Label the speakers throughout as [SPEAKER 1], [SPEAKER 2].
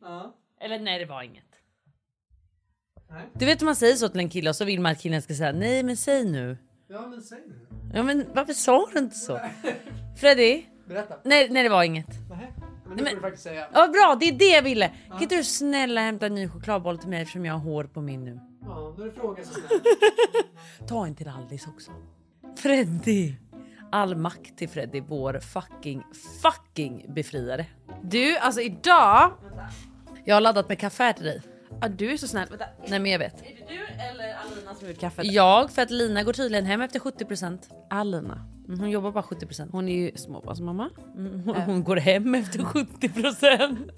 [SPEAKER 1] Ja.
[SPEAKER 2] Eller nej, det var inget.
[SPEAKER 1] Nej.
[SPEAKER 3] Du vet om man säger så till en kille och så vill man att killen ska säga nej men säg nu.
[SPEAKER 1] Ja men säg nu.
[SPEAKER 3] Ja men varför sa du inte så? Freddy?
[SPEAKER 1] Berätta.
[SPEAKER 3] Nej, nej det var inget.
[SPEAKER 1] Nej. Men nu
[SPEAKER 3] Men-
[SPEAKER 1] får du faktiskt säga.
[SPEAKER 3] Ja bra det är det jag ville. Kan inte du snälla hämta en ny chokladboll till mig eftersom jag har hår på min nu?
[SPEAKER 1] Ja, nu är det frågan så snäll.
[SPEAKER 3] Ta en till Alice också. Freddy! All makt till Freddy, vår fucking, fucking befriare.
[SPEAKER 2] Du, alltså idag.
[SPEAKER 3] Jag har laddat med kaffe här till dig.
[SPEAKER 2] Ja, du är så snäll. Vänta.
[SPEAKER 3] Nej men jag vet.
[SPEAKER 2] Är det du eller Alina som har gjort kaffet?
[SPEAKER 3] Jag, för att Lina går tydligen hem efter 70%.
[SPEAKER 2] Alina.
[SPEAKER 3] Mm, Hon jobbar bara 70%.
[SPEAKER 2] Ah, Hon är ju småbarnsmamma.
[SPEAKER 3] Mm, Hon, hon går hem efter 70%.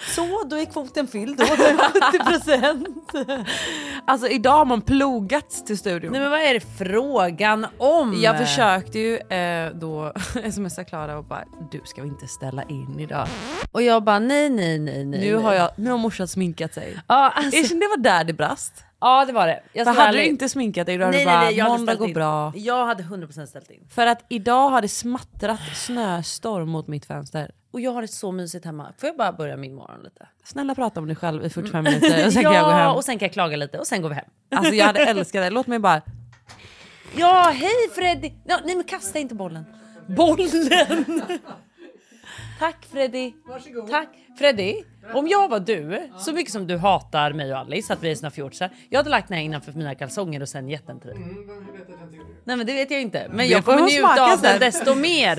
[SPEAKER 3] Så, då är kvoten fylld. Då 70%.
[SPEAKER 2] Alltså idag har man plogats till studion.
[SPEAKER 3] Nej men vad är det frågan om?
[SPEAKER 2] jag försökte ju eh, då smsa Klara och bara du ska vi inte ställa in idag.
[SPEAKER 3] Och jag bara nej, nej, nej, nej.
[SPEAKER 2] Nu
[SPEAKER 3] nej.
[SPEAKER 2] har, jag, nu har morsan sminkat sig.
[SPEAKER 3] Ja, alltså,
[SPEAKER 2] Erkänn det var där det brast.
[SPEAKER 3] ja det var det. Jag
[SPEAKER 2] För
[SPEAKER 3] ska
[SPEAKER 2] hade du
[SPEAKER 3] ärlig.
[SPEAKER 2] inte sminkat dig då hade
[SPEAKER 3] Nej,
[SPEAKER 2] du
[SPEAKER 3] nej,
[SPEAKER 2] bara
[SPEAKER 3] nej, jag hade
[SPEAKER 2] måndag
[SPEAKER 3] ställt
[SPEAKER 2] går
[SPEAKER 3] in.
[SPEAKER 2] bra.
[SPEAKER 3] Jag hade 100% ställt in.
[SPEAKER 2] För att idag har det smattrat snöstorm mot mitt fönster.
[SPEAKER 3] Och jag har det så mysigt hemma. Får jag bara börja min morgon lite?
[SPEAKER 2] Snälla prata om dig själv i 45 minuter och sen kan jag gå
[SPEAKER 3] ja,
[SPEAKER 2] hem.
[SPEAKER 3] och sen kan jag klaga lite och sen går vi hem.
[SPEAKER 2] Alltså jag hade älskat det. Låt mig bara...
[SPEAKER 3] Ja, hej Freddy! No, nej men kasta inte bollen. Bollen! Tack Freddy.
[SPEAKER 1] Varsågod.
[SPEAKER 3] Tack Freddy. Om jag var du, så mycket som du hatar mig och Alice, att vi är såna fjortisar. Jag hade lagt den här innanför mina kalsonger och sen gett den till dig.
[SPEAKER 1] Mm, men hur vet jag att jag inte gjorde det?
[SPEAKER 3] Nej men det vet jag inte. Men jag
[SPEAKER 2] får
[SPEAKER 3] kommer
[SPEAKER 2] hon smaka
[SPEAKER 3] njuta av den
[SPEAKER 2] sen.
[SPEAKER 3] desto mer.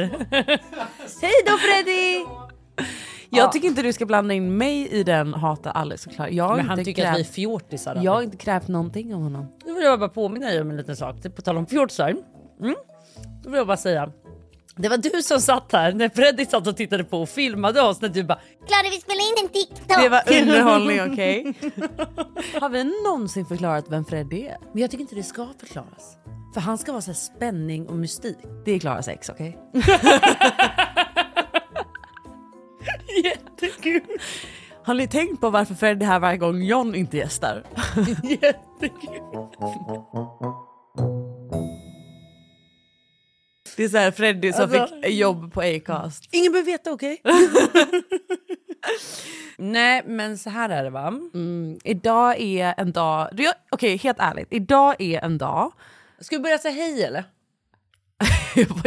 [SPEAKER 3] Hej då Freddy!
[SPEAKER 2] Jag
[SPEAKER 3] Ja.
[SPEAKER 2] tycker inte du ska blanda in mig i den hata Alice och Klara. Jag har
[SPEAKER 3] Men han
[SPEAKER 2] inte
[SPEAKER 3] tycker att vi är
[SPEAKER 2] krävt...
[SPEAKER 3] fjortisar.
[SPEAKER 2] Jag har inte krävt någonting av honom.
[SPEAKER 3] Nu vill jag bara påminna dig om en liten sak, på tal om fjortisar. Mm. Då vill jag bara säga, det var du som satt här när Freddy satt och tittade på och filmade oss när du bara
[SPEAKER 4] Klara, vi spelar in en TikTok.
[SPEAKER 2] Det var underhållning okej? Har vi någonsin förklarat vem Freddy är?
[SPEAKER 3] Men jag tycker inte det ska förklaras. För han ska vara så här spänning och mystik.
[SPEAKER 2] Det är Klaras ex okej?
[SPEAKER 3] Jättekul!
[SPEAKER 2] Har ni tänkt på varför Freddy är här varje gång John inte gästar?
[SPEAKER 3] Jättekul!
[SPEAKER 2] Det är såhär Freddy som
[SPEAKER 3] Alltså-
[SPEAKER 2] fick jobb på Acast.
[SPEAKER 3] Ingen behöver veta, okej? Nej, men så här är det va?
[SPEAKER 2] Idag är en dag... du, jag- Okej, helt ärligt. Idag är en dag...
[SPEAKER 3] Ska vi börja säga hej eller?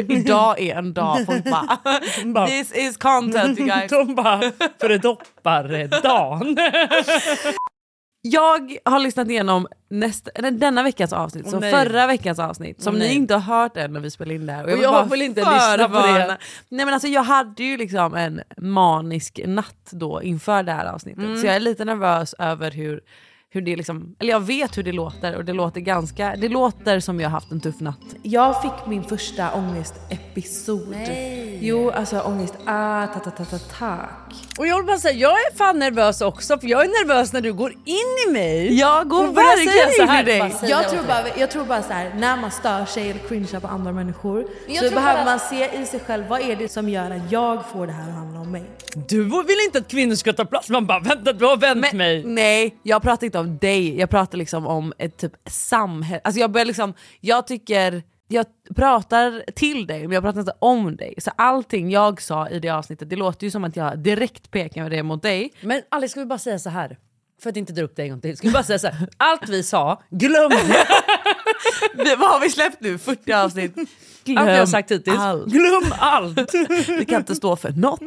[SPEAKER 2] idag är en dag folk bara...
[SPEAKER 3] Bara-
[SPEAKER 2] This is content you guys.
[SPEAKER 3] De bara, för det doppar dagen.
[SPEAKER 2] Jag har lyssnat igenom nästa, eller denna veckans avsnitt,
[SPEAKER 3] Åh,
[SPEAKER 2] så
[SPEAKER 3] nej.
[SPEAKER 2] förra veckans avsnitt som
[SPEAKER 3] Åh, nej.
[SPEAKER 2] ni inte har hört än när vi spelar in det här.
[SPEAKER 3] Och
[SPEAKER 2] vill
[SPEAKER 3] jag
[SPEAKER 2] bara
[SPEAKER 3] vill inte lyssna på det.
[SPEAKER 2] förvarna. Nej, men alltså, jag hade ju liksom en manisk natt då inför det här avsnittet
[SPEAKER 3] Mm.
[SPEAKER 2] så jag är lite nervös över hur, hur det liksom, eller jag vet hur det låter och det låter ganska, det låter som jag har haft en tuff natt. Jag fick min första ångestepisod. Nej. Jo alltså ångest, ah, ta, ta, ta, ta, tack.
[SPEAKER 3] Och jag vill bara säga, jag är fan nervös också för jag är nervös när du går in i mig.
[SPEAKER 2] Jag går
[SPEAKER 3] Och börjar säga
[SPEAKER 2] verkligen
[SPEAKER 3] så
[SPEAKER 2] in i
[SPEAKER 3] här.
[SPEAKER 2] dig.
[SPEAKER 3] Bara säga
[SPEAKER 5] Jag
[SPEAKER 3] åt
[SPEAKER 5] tror,
[SPEAKER 3] dig.
[SPEAKER 5] bara, jag tror bara så här, när man stör sig eller cringear på andra människor
[SPEAKER 3] Jag
[SPEAKER 5] så
[SPEAKER 3] tror bara-
[SPEAKER 5] behöver man se i sig själv, vad är det som gör att jag får det här att handla om mig?
[SPEAKER 3] Du vill inte att kvinnor ska ta plats. Man bara, vänta du har vänt mig.
[SPEAKER 2] Nej, jag pratar inte om dig. Jag pratar liksom om ett typ samhälle. Alltså jag börjar liksom, jag tycker, jag pratar till dig men jag pratar inte om dig. Så allting jag sa i det avsnittet, det låter ju som att jag direkt pekar det mot dig.
[SPEAKER 3] Men Alice, ska vi bara säga så här? För att inte dra upp det en gång till. Ska vi bara säga så här? Allt vi sa, glöm det!
[SPEAKER 2] Det, vad har vi släppt nu? 40 avsnitt.
[SPEAKER 3] Allt vi har sagt hittills.
[SPEAKER 2] Allt.
[SPEAKER 3] Glöm allt!
[SPEAKER 2] Vi kan inte stå för något.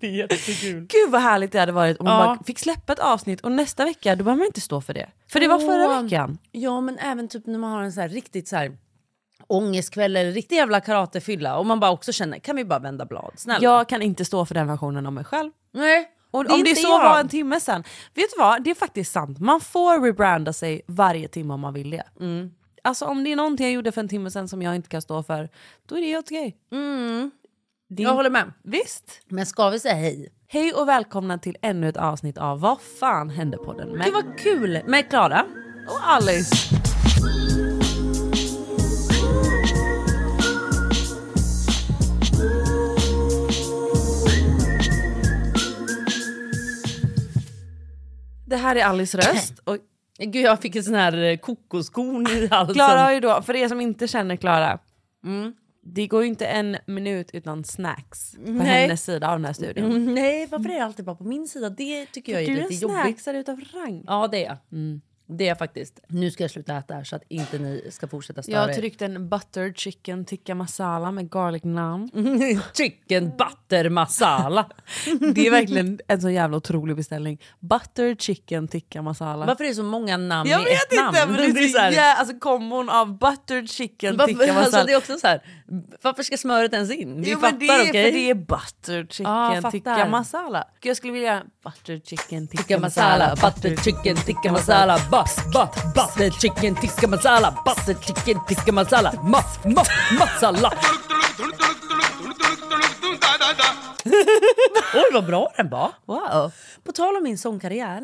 [SPEAKER 3] det är jättekul.
[SPEAKER 2] Gud vad härligt det hade varit om man
[SPEAKER 3] Ja.
[SPEAKER 2] bara fick släppa ett avsnitt och nästa vecka då behöver man inte stå för det. För det var förra
[SPEAKER 3] Åh.
[SPEAKER 2] veckan.
[SPEAKER 3] Ja, men även typ när man har en så här riktigt så här ångestkväll eller riktig jävla karatefylla och man bara också känner, kan vi bara vända blad? Snälla.
[SPEAKER 2] Jag kan inte stå för den versionen av mig själv.
[SPEAKER 3] Nej.
[SPEAKER 2] Och
[SPEAKER 3] Det är
[SPEAKER 2] om det
[SPEAKER 3] inte
[SPEAKER 2] så
[SPEAKER 3] jag.
[SPEAKER 2] var en timme sen. Vet du vad, det är faktiskt sant. Man får rebranda sig varje timme om man vill det.
[SPEAKER 3] Mm.
[SPEAKER 2] Alltså om det är någonting jag gjorde för en timme sen som jag inte kan stå för, då är det helt okej. Det är-
[SPEAKER 3] Jag håller med.
[SPEAKER 2] Visst?
[SPEAKER 3] Men ska vi säga hej?
[SPEAKER 2] Hej och välkomna till ännu ett avsnitt av Vad fan hände på den med
[SPEAKER 3] Det var kul med Klara.
[SPEAKER 2] och Alice. Det här är Alice röst. Och
[SPEAKER 3] Gud, jag
[SPEAKER 2] Alltså
[SPEAKER 3] fick en sån här eh, kokoskorn i halsen.
[SPEAKER 2] Klara har ju då, för er som inte känner Klara, Det går ju inte en minut utan snacks på
[SPEAKER 3] Nej.
[SPEAKER 2] hennes sida av den här studion.
[SPEAKER 3] Mm, nej, varför är det alltid bara på min sida? Det tycker jag är
[SPEAKER 2] Du är
[SPEAKER 3] lite
[SPEAKER 2] en
[SPEAKER 3] jobbigt.
[SPEAKER 2] snacksare utav rang.
[SPEAKER 3] Ja, det är jag. Mm. Det är jag faktiskt. Nu ska jag sluta äta här så att inte ni ska fortsätta störa
[SPEAKER 2] Jag tryckte en buttered chicken tikka masala med garlic naan.
[SPEAKER 3] er. Chicken butter masala.
[SPEAKER 2] Det är verkligen en så jävla otrolig beställning. Buttered chicken tikka masala.
[SPEAKER 3] Varför är det så många namn
[SPEAKER 2] Jag
[SPEAKER 3] i
[SPEAKER 2] vet
[SPEAKER 3] ett
[SPEAKER 2] inte!
[SPEAKER 3] namn?
[SPEAKER 2] Men det är så
[SPEAKER 3] här-
[SPEAKER 2] jä- alltså kombon av buttered chicken tikka
[SPEAKER 3] varför,
[SPEAKER 2] masala.
[SPEAKER 3] alltså, det är också så här, varför ska smöret ens in? Vi
[SPEAKER 2] Jo, men
[SPEAKER 3] fattar
[SPEAKER 2] det är
[SPEAKER 3] okej?
[SPEAKER 2] för det är buttered
[SPEAKER 3] Ah,
[SPEAKER 2] chicken
[SPEAKER 3] fattar.
[SPEAKER 2] tikka masala. Jag skulle vilja buttered chicken tikka,
[SPEAKER 3] Tikka masala, butter chicken tikka masala, bus, bus, butter chicken tikka masala, butter chicken tikka masala, mas, mas, masala. Oj vad bra den var!
[SPEAKER 2] Wow. Mm.
[SPEAKER 3] På tal om min sångkarriär.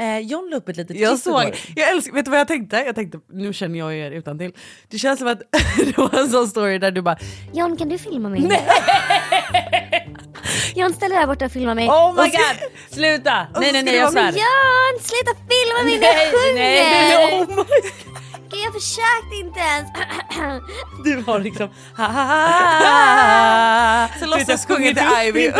[SPEAKER 3] Eh, John la upp ett litet
[SPEAKER 2] Jag
[SPEAKER 3] klipp igår. Oh
[SPEAKER 2] såg, jag älskar, vet du vad jag tänkte? Jag tänkte, nu känner jag er utan till. Det känns som att det var en sån story där du bara,
[SPEAKER 4] John kan du filma mig? Nej! John ställ dig där borta och filma mig.
[SPEAKER 3] Oh my
[SPEAKER 2] Och så-
[SPEAKER 3] god! Sluta! Nej nej nej
[SPEAKER 2] det
[SPEAKER 3] jag
[SPEAKER 2] vara
[SPEAKER 3] svär.
[SPEAKER 2] med
[SPEAKER 4] John sluta filma mig när jag
[SPEAKER 3] Nej, nej,
[SPEAKER 4] sjunger!
[SPEAKER 3] oh my
[SPEAKER 4] Okej, Jag försökte inte ens.
[SPEAKER 3] Du har liksom ha ha ha
[SPEAKER 2] så
[SPEAKER 3] Du vet, jag
[SPEAKER 2] låtsas sjunga till Ivy.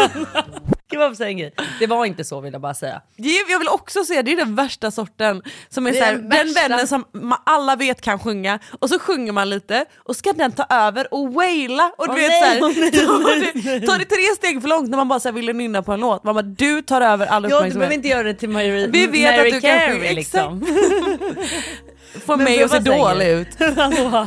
[SPEAKER 3] Kan man säga en grej? Det var inte så vill jag bara säga.
[SPEAKER 2] Det är- Jag vill också säga, det är den värsta sorten. Som är
[SPEAKER 3] Det är
[SPEAKER 2] så här,
[SPEAKER 3] den
[SPEAKER 2] den,
[SPEAKER 3] värsta.
[SPEAKER 2] vännen som ma- alla vet kan sjunga, och så sjunger man lite, och ska den ta över och waila. Och du
[SPEAKER 3] Åh
[SPEAKER 2] vet
[SPEAKER 3] nej,
[SPEAKER 2] så här,
[SPEAKER 3] åh nej,
[SPEAKER 2] tar, det, tar det tre steg för långt när man bara så här, ville nynna på en låt. Man bara, du tar över all
[SPEAKER 3] Ja, du
[SPEAKER 2] uppmärksamhet.
[SPEAKER 3] behöver inte göra det till Mary,
[SPEAKER 2] Vi vet
[SPEAKER 3] Mary
[SPEAKER 2] att du kan
[SPEAKER 3] Carey
[SPEAKER 2] sjunga,
[SPEAKER 3] liksom.
[SPEAKER 2] Får
[SPEAKER 3] Men
[SPEAKER 2] mig att se
[SPEAKER 3] behöver säga.
[SPEAKER 2] dålig ut.
[SPEAKER 3] Hallå.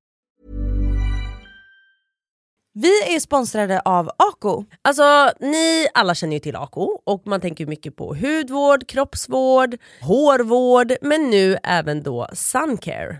[SPEAKER 5] Vi är sponsrade av Ako.
[SPEAKER 3] Alltså ni alla känner ju till Ako och man tänker ju mycket på hudvård, kroppsvård, hårvård men nu även då suncare.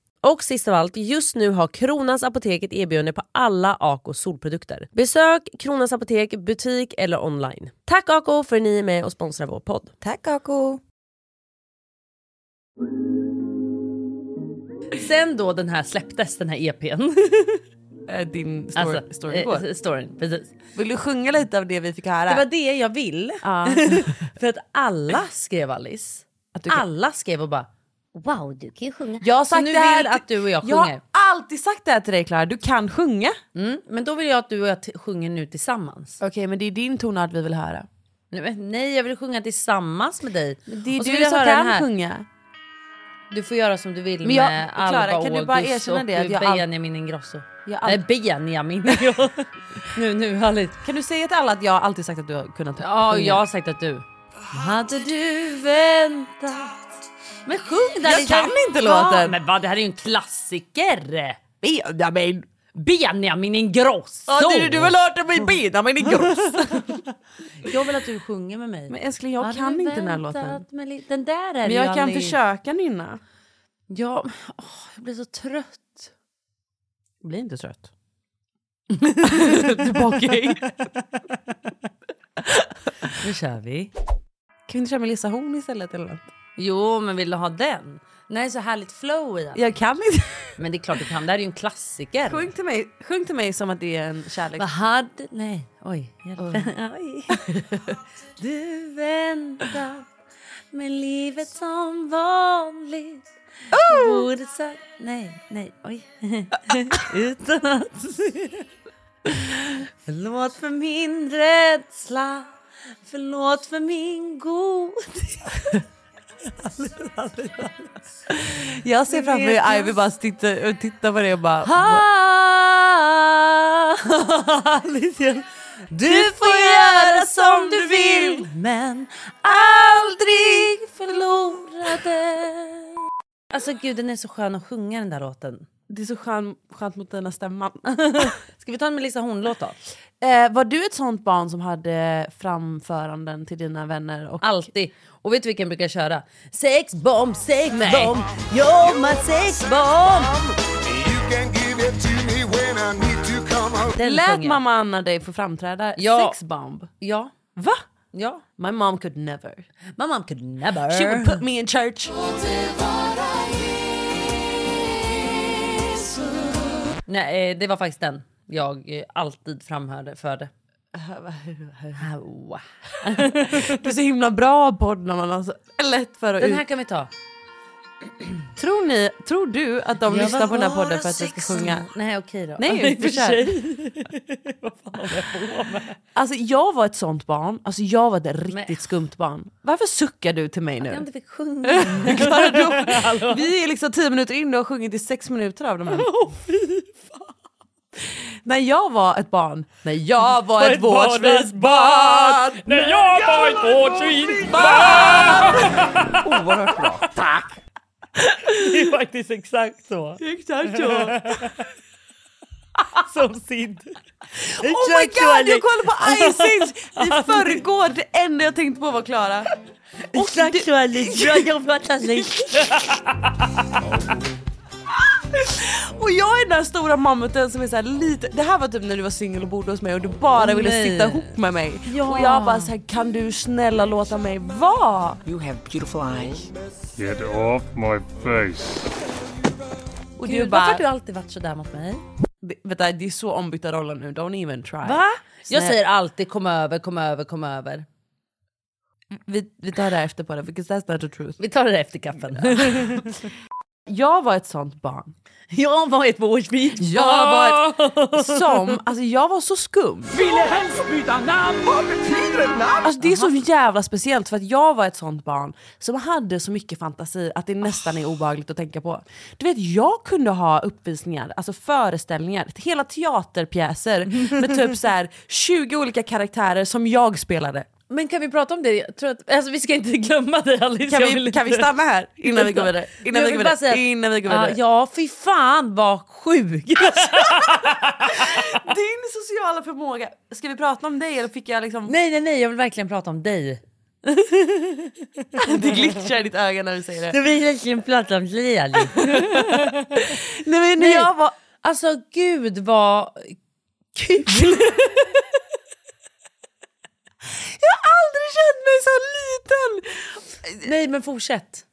[SPEAKER 3] Och sist av allt, just nu har Kronans Apotek ett erbjudande på alla Ako solprodukter. Besök Kronans Apotek, butik eller online. Tack Ako för att ni är med och sponsrar vår podd.
[SPEAKER 5] Tack Ako!
[SPEAKER 3] Sen då den här släpptes, den här EPn.
[SPEAKER 2] Eh, Din story,
[SPEAKER 3] Alltså,
[SPEAKER 2] story
[SPEAKER 3] eh,
[SPEAKER 2] går.
[SPEAKER 3] storyn, precis.
[SPEAKER 2] Vill du sjunga lite av det vi fick höra?
[SPEAKER 3] Det var det jag vill. för att alla skrev Alice. Alla skrev och bara
[SPEAKER 4] Wow, du kan ju sjunga.
[SPEAKER 2] Jag har
[SPEAKER 3] Så
[SPEAKER 2] sagt
[SPEAKER 3] nu
[SPEAKER 2] det här
[SPEAKER 3] vill
[SPEAKER 2] till-
[SPEAKER 3] att du och jag
[SPEAKER 2] Jag
[SPEAKER 3] sjunger.
[SPEAKER 2] har alltid sagt det här till dig Klara, du kan sjunga.
[SPEAKER 3] Mm, men då vill jag att du och jag t- sjunger nu tillsammans.
[SPEAKER 2] Okej men det är din tonart vi vill höra.
[SPEAKER 3] Nu- men Nej, jag vill sjunga tillsammans med dig.
[SPEAKER 2] Det är
[SPEAKER 3] Och så vill
[SPEAKER 2] du
[SPEAKER 3] jag
[SPEAKER 2] som
[SPEAKER 3] höra den
[SPEAKER 2] kan
[SPEAKER 3] här.
[SPEAKER 2] sjunga.
[SPEAKER 3] Du får göra som du vill
[SPEAKER 2] Men jag-
[SPEAKER 3] med
[SPEAKER 2] Klara,
[SPEAKER 3] Alba
[SPEAKER 2] kan
[SPEAKER 3] August
[SPEAKER 2] du bara erkänna
[SPEAKER 3] och
[SPEAKER 2] det, att jag all-
[SPEAKER 3] Benjamin Ingrosso.
[SPEAKER 2] Jag har
[SPEAKER 3] Nej,
[SPEAKER 2] alltid-
[SPEAKER 3] Benjamin Ingrosso. nu, nu, Alice.
[SPEAKER 2] Kan du säga till alla att jag har alltid sagt att du har kunnat
[SPEAKER 3] Ja,
[SPEAKER 2] sjunga?
[SPEAKER 3] jag har sagt att du. Hade du väntat? Men sjung där
[SPEAKER 2] Jag
[SPEAKER 3] lite.
[SPEAKER 2] kan inte
[SPEAKER 3] Ja,
[SPEAKER 2] låten.
[SPEAKER 3] Men vad, det här är ju en klassiker.
[SPEAKER 2] Benjamin!
[SPEAKER 3] Benjamin Ingrosso.
[SPEAKER 2] Ja, du, du har lärt mig Benjamin Ingrosso.
[SPEAKER 3] Jag vill att du sjunger med mig.
[SPEAKER 2] men älskling jag
[SPEAKER 3] Hade
[SPEAKER 2] kan
[SPEAKER 3] du
[SPEAKER 2] inte den här
[SPEAKER 3] väntat
[SPEAKER 2] låten.
[SPEAKER 3] med li- Den där är
[SPEAKER 2] Men
[SPEAKER 3] ju
[SPEAKER 2] jag kan
[SPEAKER 3] aldrig-
[SPEAKER 2] försöka nynna.
[SPEAKER 3] Ja, men, åh, jag blir så trött.
[SPEAKER 2] Bli inte trött. Tillbaka in.
[SPEAKER 3] Nu kör vi.
[SPEAKER 2] Kan vi inte köra Melissa Horn istället eller något?
[SPEAKER 3] Jo, men vill du ha den? Nej, så härligt flow i den.
[SPEAKER 2] Jag kan inte.
[SPEAKER 3] Men det är klart du kan, det här är ju en klassiker.
[SPEAKER 2] Sjung till mig, sjung till mig som att det är en kärlek.
[SPEAKER 3] Vad hade... Nej, oj. hjälp. Oj. Du väntar med livet som vanligt. Du
[SPEAKER 2] Oh!
[SPEAKER 3] borde sagt... Nej, nej, oj. Utan att... Förlåt för min rädsla. Förlåt för min godhet.
[SPEAKER 2] Jag ser framför mig
[SPEAKER 3] Vet jag.
[SPEAKER 2] Ivy bara titta, titta på det och bara...
[SPEAKER 3] Alicia, Du får göra som du vill men aldrig förlora den Alltså gud den är så skön att sjunga den där låten.
[SPEAKER 2] Det är så skönt, skönt mot denna stämman.
[SPEAKER 3] Ska vi ta en Melissa Horn-låt då?
[SPEAKER 2] eh, var du ett sånt barn som hade framföranden till dina vänner? Och,
[SPEAKER 3] Alltid. Och vet du vilken jag brukar köra? Sex bomb, sex bomb, you're my sex bomb. Den
[SPEAKER 2] lät
[SPEAKER 3] sjunger jag.
[SPEAKER 2] mamma Anna dig få framträda?
[SPEAKER 3] Ja.
[SPEAKER 2] Sexbomb?
[SPEAKER 3] Ja.
[SPEAKER 2] Va?
[SPEAKER 3] Ja.
[SPEAKER 2] My mom could never.
[SPEAKER 3] My mom could never.
[SPEAKER 2] She would put me in church.
[SPEAKER 3] Nej, eh, det var faktiskt den jag eh, alltid framhörde för det.
[SPEAKER 2] Du är så himla bra podd när man har så lätt för att
[SPEAKER 3] Den
[SPEAKER 2] ut-
[SPEAKER 3] här kan vi ta.
[SPEAKER 2] tror, ni, tror du att de lyssnar på den här podden för att vi ska sjunga?
[SPEAKER 3] Nej okej då.
[SPEAKER 2] Nej,
[SPEAKER 3] I och för
[SPEAKER 2] försök.
[SPEAKER 3] sig. Vad fan håller jag på med?
[SPEAKER 2] Alltså jag var ett sånt barn, alltså jag var ett riktigt
[SPEAKER 3] Men-
[SPEAKER 2] skumt barn. Varför suckar du till mig
[SPEAKER 3] Jag
[SPEAKER 2] nu?
[SPEAKER 3] inte fick sjunga.
[SPEAKER 2] Klara, du- Vi är liksom tio minuter in och har sjungit i sex minuter av de här. När jag var ett barn, när jag var ett vårdslöst barn.
[SPEAKER 3] När jag var ett
[SPEAKER 2] barn!
[SPEAKER 6] Oerhört bra.
[SPEAKER 3] Det är faktiskt exakt så.
[SPEAKER 2] Exakt så.
[SPEAKER 3] Som Sid.
[SPEAKER 2] Oh my god, jag kollade på Ice Age i förrgår. Det enda jag tänkte på var Klara.
[SPEAKER 3] Exakt så Alice. Bra jobbat Alice.
[SPEAKER 2] Och jag är den där stora mammuten som är så här lite, det här var typ när du var singel och bodde hos mig och du bara ville
[SPEAKER 3] nej.
[SPEAKER 2] sitta ihop med mig.
[SPEAKER 3] Ja.
[SPEAKER 2] Och jag bara så här, kan du snälla låta mig vara?
[SPEAKER 7] Get off my face.
[SPEAKER 2] Och du
[SPEAKER 3] Gud,
[SPEAKER 2] bara,
[SPEAKER 3] varför har du alltid varit sådär mot mig?
[SPEAKER 2] "Det- vänta det är så ombytta roller nu, don't even try.
[SPEAKER 3] Jag
[SPEAKER 2] Snäll-
[SPEAKER 3] säger alltid kom över, kom över, kom över.
[SPEAKER 2] Vi, vi tar det här efter på det, because that's not the truth.
[SPEAKER 3] Vi tar det efter kaffen.
[SPEAKER 2] Jag var ett sånt barn.
[SPEAKER 3] Jag var ett vårdsmitt
[SPEAKER 2] Jag var ett, som, alltså jag var så skum.
[SPEAKER 6] Ville helst byta namn! Vad betyder ett namn?
[SPEAKER 2] Alltså det är så jävla speciellt för att jag var ett sånt barn som hade så mycket fantasi att det nästan är obehagligt att tänka på. Du vet jag kunde ha uppvisningar, alltså föreställningar, hela teaterpjäser med typ så här 20 olika karaktärer som jag spelade.
[SPEAKER 3] Men kan vi prata om det? Jag tror att, alltså, vi ska inte glömma dig Alice.
[SPEAKER 2] Kan
[SPEAKER 3] jag
[SPEAKER 2] vi-
[SPEAKER 3] vill
[SPEAKER 2] kan
[SPEAKER 3] inte-
[SPEAKER 2] vi stanna här innan vi går vidare? Innan
[SPEAKER 3] Jag vill
[SPEAKER 2] vi går
[SPEAKER 3] bara
[SPEAKER 2] vidare.
[SPEAKER 3] säga att-
[SPEAKER 2] Innan vi går vidare.
[SPEAKER 3] Ja, Ja, fy fan vad sjuk!
[SPEAKER 2] Din sociala förmåga, ska vi prata om dig eller fick jag liksom...
[SPEAKER 3] nej, nej, nej, jag vill verkligen prata om dig.
[SPEAKER 2] Det glittrar i ditt öga när du säger det.
[SPEAKER 3] Jag vill verkligen prata om dig Alice.
[SPEAKER 2] Nej men när
[SPEAKER 3] Nej.
[SPEAKER 2] jag var...
[SPEAKER 3] Alltså gud vad kul!
[SPEAKER 2] Jag har aldrig känt mig så liten!
[SPEAKER 3] nej men fortsätt.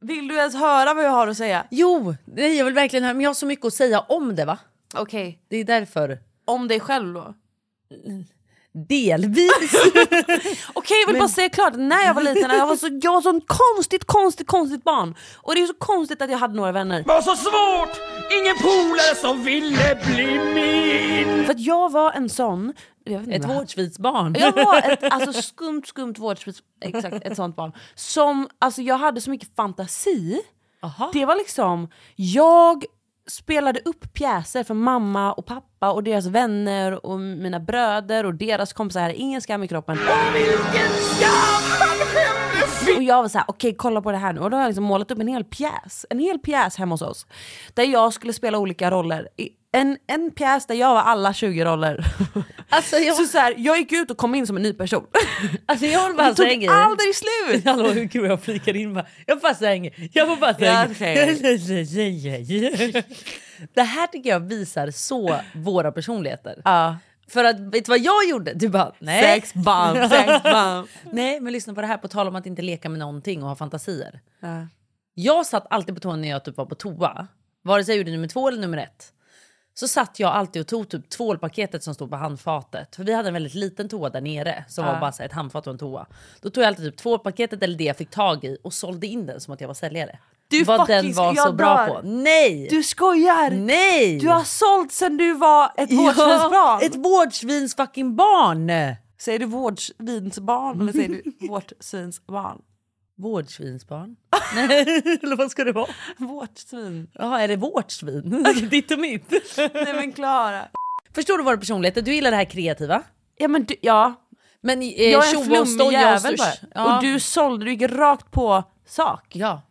[SPEAKER 2] Vill du ens höra vad jag har att säga?
[SPEAKER 3] Jo, nej, jag vill verkligen höra, men jag har så mycket att säga om det va?
[SPEAKER 2] Okej.
[SPEAKER 3] Det är därför.
[SPEAKER 2] Om dig själv då?
[SPEAKER 3] Delvis.
[SPEAKER 2] Okej jag vill bara säga klart, när jag var liten, jag var så, jag var så konstigt, konstigt, konstigt barn. Och det är så konstigt att jag hade några vänner.
[SPEAKER 6] Var så svårt! Ingen polare som ville bli min!
[SPEAKER 2] För att jag var en sån... Jag vet inte
[SPEAKER 3] Ett
[SPEAKER 2] vad-
[SPEAKER 3] vårdsvitsbarn.
[SPEAKER 2] Jag var ett alltså, skumt, skumt vårdsvits, exakt ett sånt barn. Som, alltså, jag hade så mycket fantasi.
[SPEAKER 3] Aha.
[SPEAKER 2] Det var liksom, jag spelade upp pjäser för mamma och pappa och deras vänner och mina bröder och deras kompisar. Jag hade ingen skam i kroppen. Och jag var så här, okej kolla på det här nu. Och då har jag liksom målat upp en hel pjäs. En hel pjäs hemma hos oss. Där jag skulle spela olika roller. I- En, en pjäs där jag var alla 20 roller.
[SPEAKER 3] Alltså, jag-
[SPEAKER 2] Så, så här, jag gick ut och kom in som en ny person.
[SPEAKER 3] Alltså jag håller bara
[SPEAKER 2] Det
[SPEAKER 3] så
[SPEAKER 2] tog
[SPEAKER 3] hänger i.
[SPEAKER 2] aldrig slut!
[SPEAKER 3] Hallå hur kul jag flikar in bara. Jag bara slänger. Jag får bara
[SPEAKER 2] Ja,
[SPEAKER 3] slänger. Det här tycker jag visar så våra personligheter.
[SPEAKER 2] Ja.
[SPEAKER 3] För att vet du vad jag gjorde? Du bara nej.
[SPEAKER 2] Sex bomb, sex bomb.
[SPEAKER 3] Nej men lyssna på det här på tal om att inte leka med någonting och ha fantasier. Jag satt alltid på toan när jag typ var på toa. Vare sig jag gjorde nummer två eller nummer ett. Så satt jag alltid och tog typ tvålpaketet som stod på handfatet. För vi hade en väldigt liten toa där nere som var
[SPEAKER 2] Ja.
[SPEAKER 3] bara så här ett handfat och en toa. Då tog jag alltid typ tvålpaketet eller det jag fick tag i och sålde in den som att jag var säljare.
[SPEAKER 2] Du
[SPEAKER 3] Vad
[SPEAKER 2] fucking-
[SPEAKER 3] den var
[SPEAKER 2] jag
[SPEAKER 3] så bra
[SPEAKER 2] dör.
[SPEAKER 3] på. Nej!
[SPEAKER 2] Du skojar!
[SPEAKER 3] Nej!
[SPEAKER 2] Du har sålt sen du var ett
[SPEAKER 3] Ja,
[SPEAKER 2] vårdsvinsbarn!
[SPEAKER 3] Ett vårdsvins fucking barn!
[SPEAKER 2] Säger du vårdsvinsbarn eller säger du vårtsvinsbarn?
[SPEAKER 3] Vårdsvinsbarn? Nej, eller vad ska det vara?
[SPEAKER 2] Vårtsvin.
[SPEAKER 3] Jaha, är det vårt svin? Alltså, Ditt och mitt?
[SPEAKER 2] Nej men Klara.
[SPEAKER 3] Förstår du våra personligheter? Du gillar det här kreativa.
[SPEAKER 2] Ja men du, ja.
[SPEAKER 3] Men eh,
[SPEAKER 2] Jag är
[SPEAKER 3] tjo
[SPEAKER 2] en
[SPEAKER 3] och
[SPEAKER 2] flummig
[SPEAKER 3] stoj och sturs.
[SPEAKER 2] jävel bara.
[SPEAKER 3] Ja.
[SPEAKER 2] Och du sålde, du gick rakt på sak.
[SPEAKER 3] Ja.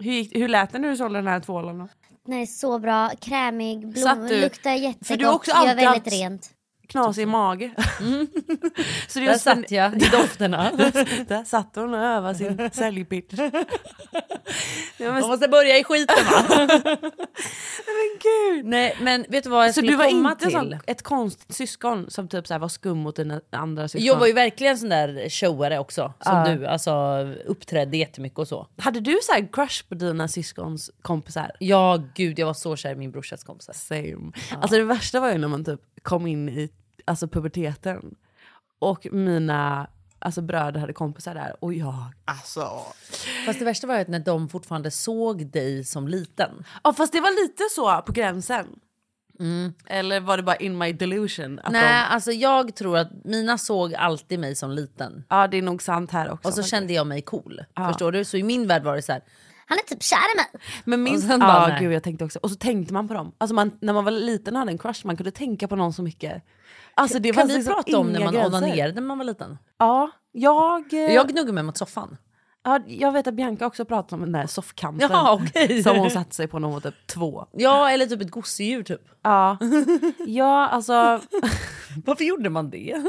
[SPEAKER 2] Hur, gick, hur lät det när du sålde den här tvålen då?
[SPEAKER 4] Den är så bra, krämig, blom,
[SPEAKER 2] Satt du-
[SPEAKER 4] luktar
[SPEAKER 2] för du har
[SPEAKER 4] jättegott,
[SPEAKER 2] också
[SPEAKER 4] gör
[SPEAKER 2] alltid
[SPEAKER 4] väldigt
[SPEAKER 2] haft-
[SPEAKER 4] rent.
[SPEAKER 2] Knasig mage. Så det är
[SPEAKER 3] Mm. Där
[SPEAKER 2] just den-
[SPEAKER 3] satt jag i dofterna.
[SPEAKER 2] Där satt hon och övade sin säljpitch. Ja, men
[SPEAKER 3] Man måste börja i skiten va?
[SPEAKER 2] gud!
[SPEAKER 3] Nej men vet du vad jag
[SPEAKER 2] Så
[SPEAKER 3] skulle
[SPEAKER 2] du var
[SPEAKER 3] komma
[SPEAKER 2] inte
[SPEAKER 3] till?
[SPEAKER 2] sån, ett konstigt syskon som typ så här var skum mot dina andra syskon?
[SPEAKER 3] Jag var ju verkligen sån där showare också. Som
[SPEAKER 2] Ja.
[SPEAKER 3] du, alltså uppträdde jättemycket och så.
[SPEAKER 2] Hade du så här crush på dina syskons kompisar?
[SPEAKER 3] Ja gud jag var så kär i min brorsas kompisar.
[SPEAKER 2] Same. Alltså det värsta var ju när man typ kom in i alltså puberteten och mina alltså bröder hade kompisar där och jag alltså...
[SPEAKER 3] Fast det värsta var ju att när de fortfarande såg dig som liten.
[SPEAKER 2] Ja fast det var lite så på gränsen. Eller var det bara in my delusion? Att
[SPEAKER 3] Mm. Nej
[SPEAKER 2] De,
[SPEAKER 3] alltså jag tror att mina såg alltid mig som liten.
[SPEAKER 2] ja det är nog sant här också.
[SPEAKER 3] Och så
[SPEAKER 2] faktiskt.
[SPEAKER 3] kände jag mig cool. Förstår du? Så i min värld var det så här.
[SPEAKER 4] Han är typ kär i mig.
[SPEAKER 2] Men
[SPEAKER 3] Och
[SPEAKER 2] minst,
[SPEAKER 3] sen bara,
[SPEAKER 2] ja,
[SPEAKER 3] nej.
[SPEAKER 2] "Ah, gud, jag tänkte också. Och så tänkte man på dem. Alltså man, när man var liten och hade en crush, man kunde tänka på någon så mycket. Alltså det
[SPEAKER 3] Kan
[SPEAKER 2] var
[SPEAKER 3] vi
[SPEAKER 2] liksom
[SPEAKER 3] prata om när
[SPEAKER 2] inga
[SPEAKER 3] man
[SPEAKER 2] gränser.
[SPEAKER 3] onanerade när man var liten?
[SPEAKER 2] Ja, jag, eh,
[SPEAKER 3] Jag gnuggade mig mot soffan.
[SPEAKER 2] ja, jag vet att Bianca också pratade om den där soffkanten.
[SPEAKER 3] Jaha, okej.
[SPEAKER 2] Som hon satte sig på när hon var typ två.
[SPEAKER 3] Ja, eller typ ett gosedjur typ.
[SPEAKER 2] Ja, ja alltså.
[SPEAKER 3] Varför gjorde man det?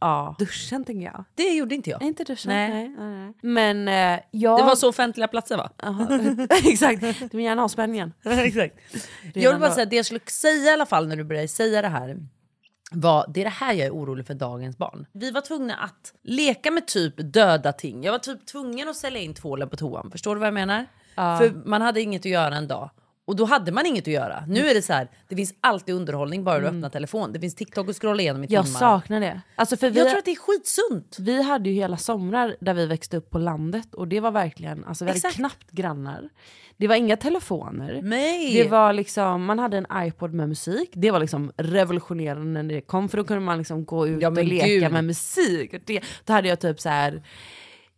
[SPEAKER 2] Ja. Duschen tänker jag.
[SPEAKER 3] Det gjorde inte jag.
[SPEAKER 2] Nej, inte duschen.
[SPEAKER 3] Nej.
[SPEAKER 2] Nej. nej, nej. Men eh, jag...
[SPEAKER 3] Det var så offentliga platser va?
[SPEAKER 2] Jaha, exakt, du vill gärna ha spänningen.
[SPEAKER 3] Exakt. Jag vill bara säga, det jag skulle säga i alla fall när du började säga det här var, det är det här jag är orolig för dagens barn. Vi var tvungna att leka med typ döda ting. Jag var typ tvungen att sälja in tvålen på toan, förstår du vad jag menar? För man hade inget att göra en dag. Och Och då hade man inget att göra. Nu är det så här, det finns alltid underhållning bara du öppnar telefon. Det finns TikTok att scrolla igenom i timmar.
[SPEAKER 2] Mm. Jag saknar det. Alltså för vi,
[SPEAKER 3] Jag tror att det är skitsunt.
[SPEAKER 2] Vi hade ju hela somrar där vi växte upp på landet och det var verkligen, alltså vi hade
[SPEAKER 3] Exakt.
[SPEAKER 2] knappt grannar. Det var inga telefoner.
[SPEAKER 3] Nej.
[SPEAKER 2] Det var liksom, man hade en iPod med musik. Det var liksom revolutionerande när det kom för då kunde man liksom gå ut och
[SPEAKER 3] men
[SPEAKER 2] leka
[SPEAKER 3] gud.
[SPEAKER 2] med musik. Och Det, då hade jag typ så här...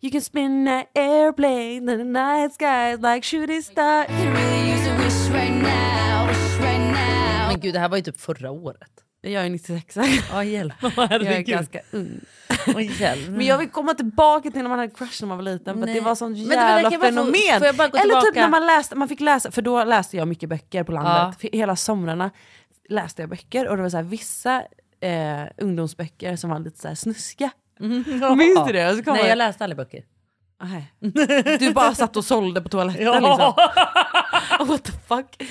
[SPEAKER 2] You can spin an airplane in the night sky like shooting star.
[SPEAKER 3] Men gud, det här var ju typ förra året.
[SPEAKER 2] Jag är 96
[SPEAKER 3] Ja, hjälp.
[SPEAKER 2] Jag är ganska ung.
[SPEAKER 3] hjälp.
[SPEAKER 2] Men jag vill komma tillbaka till när man hade crush när man var liten för att
[SPEAKER 3] Nej.
[SPEAKER 2] det var sånt
[SPEAKER 3] Men det- men
[SPEAKER 2] jävla
[SPEAKER 3] det kan jag bara få-
[SPEAKER 2] fenomen.
[SPEAKER 3] får jag bara gå
[SPEAKER 2] Eller typ
[SPEAKER 3] tillbaka?
[SPEAKER 2] när man läste, man fick läsa, för då läste jag mycket böcker på landet.
[SPEAKER 3] Ja.
[SPEAKER 2] För Hela somrarna läste jag böcker och det var så här, vissa eh, ungdomsböcker som var lite så här snuska. Minns du det? Och så kom
[SPEAKER 3] Nej,
[SPEAKER 2] man-
[SPEAKER 3] jag läste aldrig böcker.
[SPEAKER 2] Nej. Du bara satt och sålde på toaletten
[SPEAKER 3] Ah, Ja.
[SPEAKER 2] liksom. What the fuck?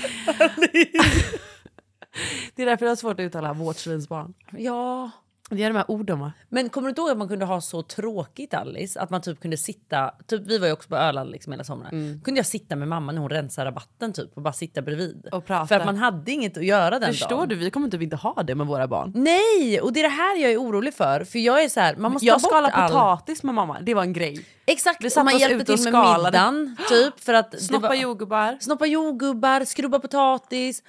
[SPEAKER 2] det är därför det är svårt att uttala vårdsvinsbarn.
[SPEAKER 3] Ja.
[SPEAKER 2] Det är de här orden va?
[SPEAKER 3] Men kommer du inte ihåg att man kunde ha så tråkigt Alice? Att man typ kunde sitta, typ, vi var ju också på Öland liksom hela sommaren.
[SPEAKER 2] Mm.
[SPEAKER 3] kunde jag sitta med mamma när hon rensade rabatten typ och bara sitta bredvid.
[SPEAKER 2] Och prata.
[SPEAKER 3] För att man hade inget att göra den
[SPEAKER 2] Förstår
[SPEAKER 3] dagen.
[SPEAKER 2] du, vi kommer typ inte ha det med våra barn.
[SPEAKER 3] Nej, och det är det här jag är orolig för. För jag är så här, man måste
[SPEAKER 2] jag
[SPEAKER 3] ta bort
[SPEAKER 2] skalade
[SPEAKER 3] all...
[SPEAKER 2] potatis med mamma, det var en grej.
[SPEAKER 3] Exakt,
[SPEAKER 2] Vi
[SPEAKER 3] och
[SPEAKER 2] satte
[SPEAKER 3] man
[SPEAKER 2] oss
[SPEAKER 3] hjälpte
[SPEAKER 2] ute och
[SPEAKER 3] till med
[SPEAKER 2] skalade.
[SPEAKER 3] middagen. Typ, för att det
[SPEAKER 2] Snoppa
[SPEAKER 3] var-
[SPEAKER 2] jordgubbar.
[SPEAKER 3] Snoppa jordgubbar, skrubba potatis.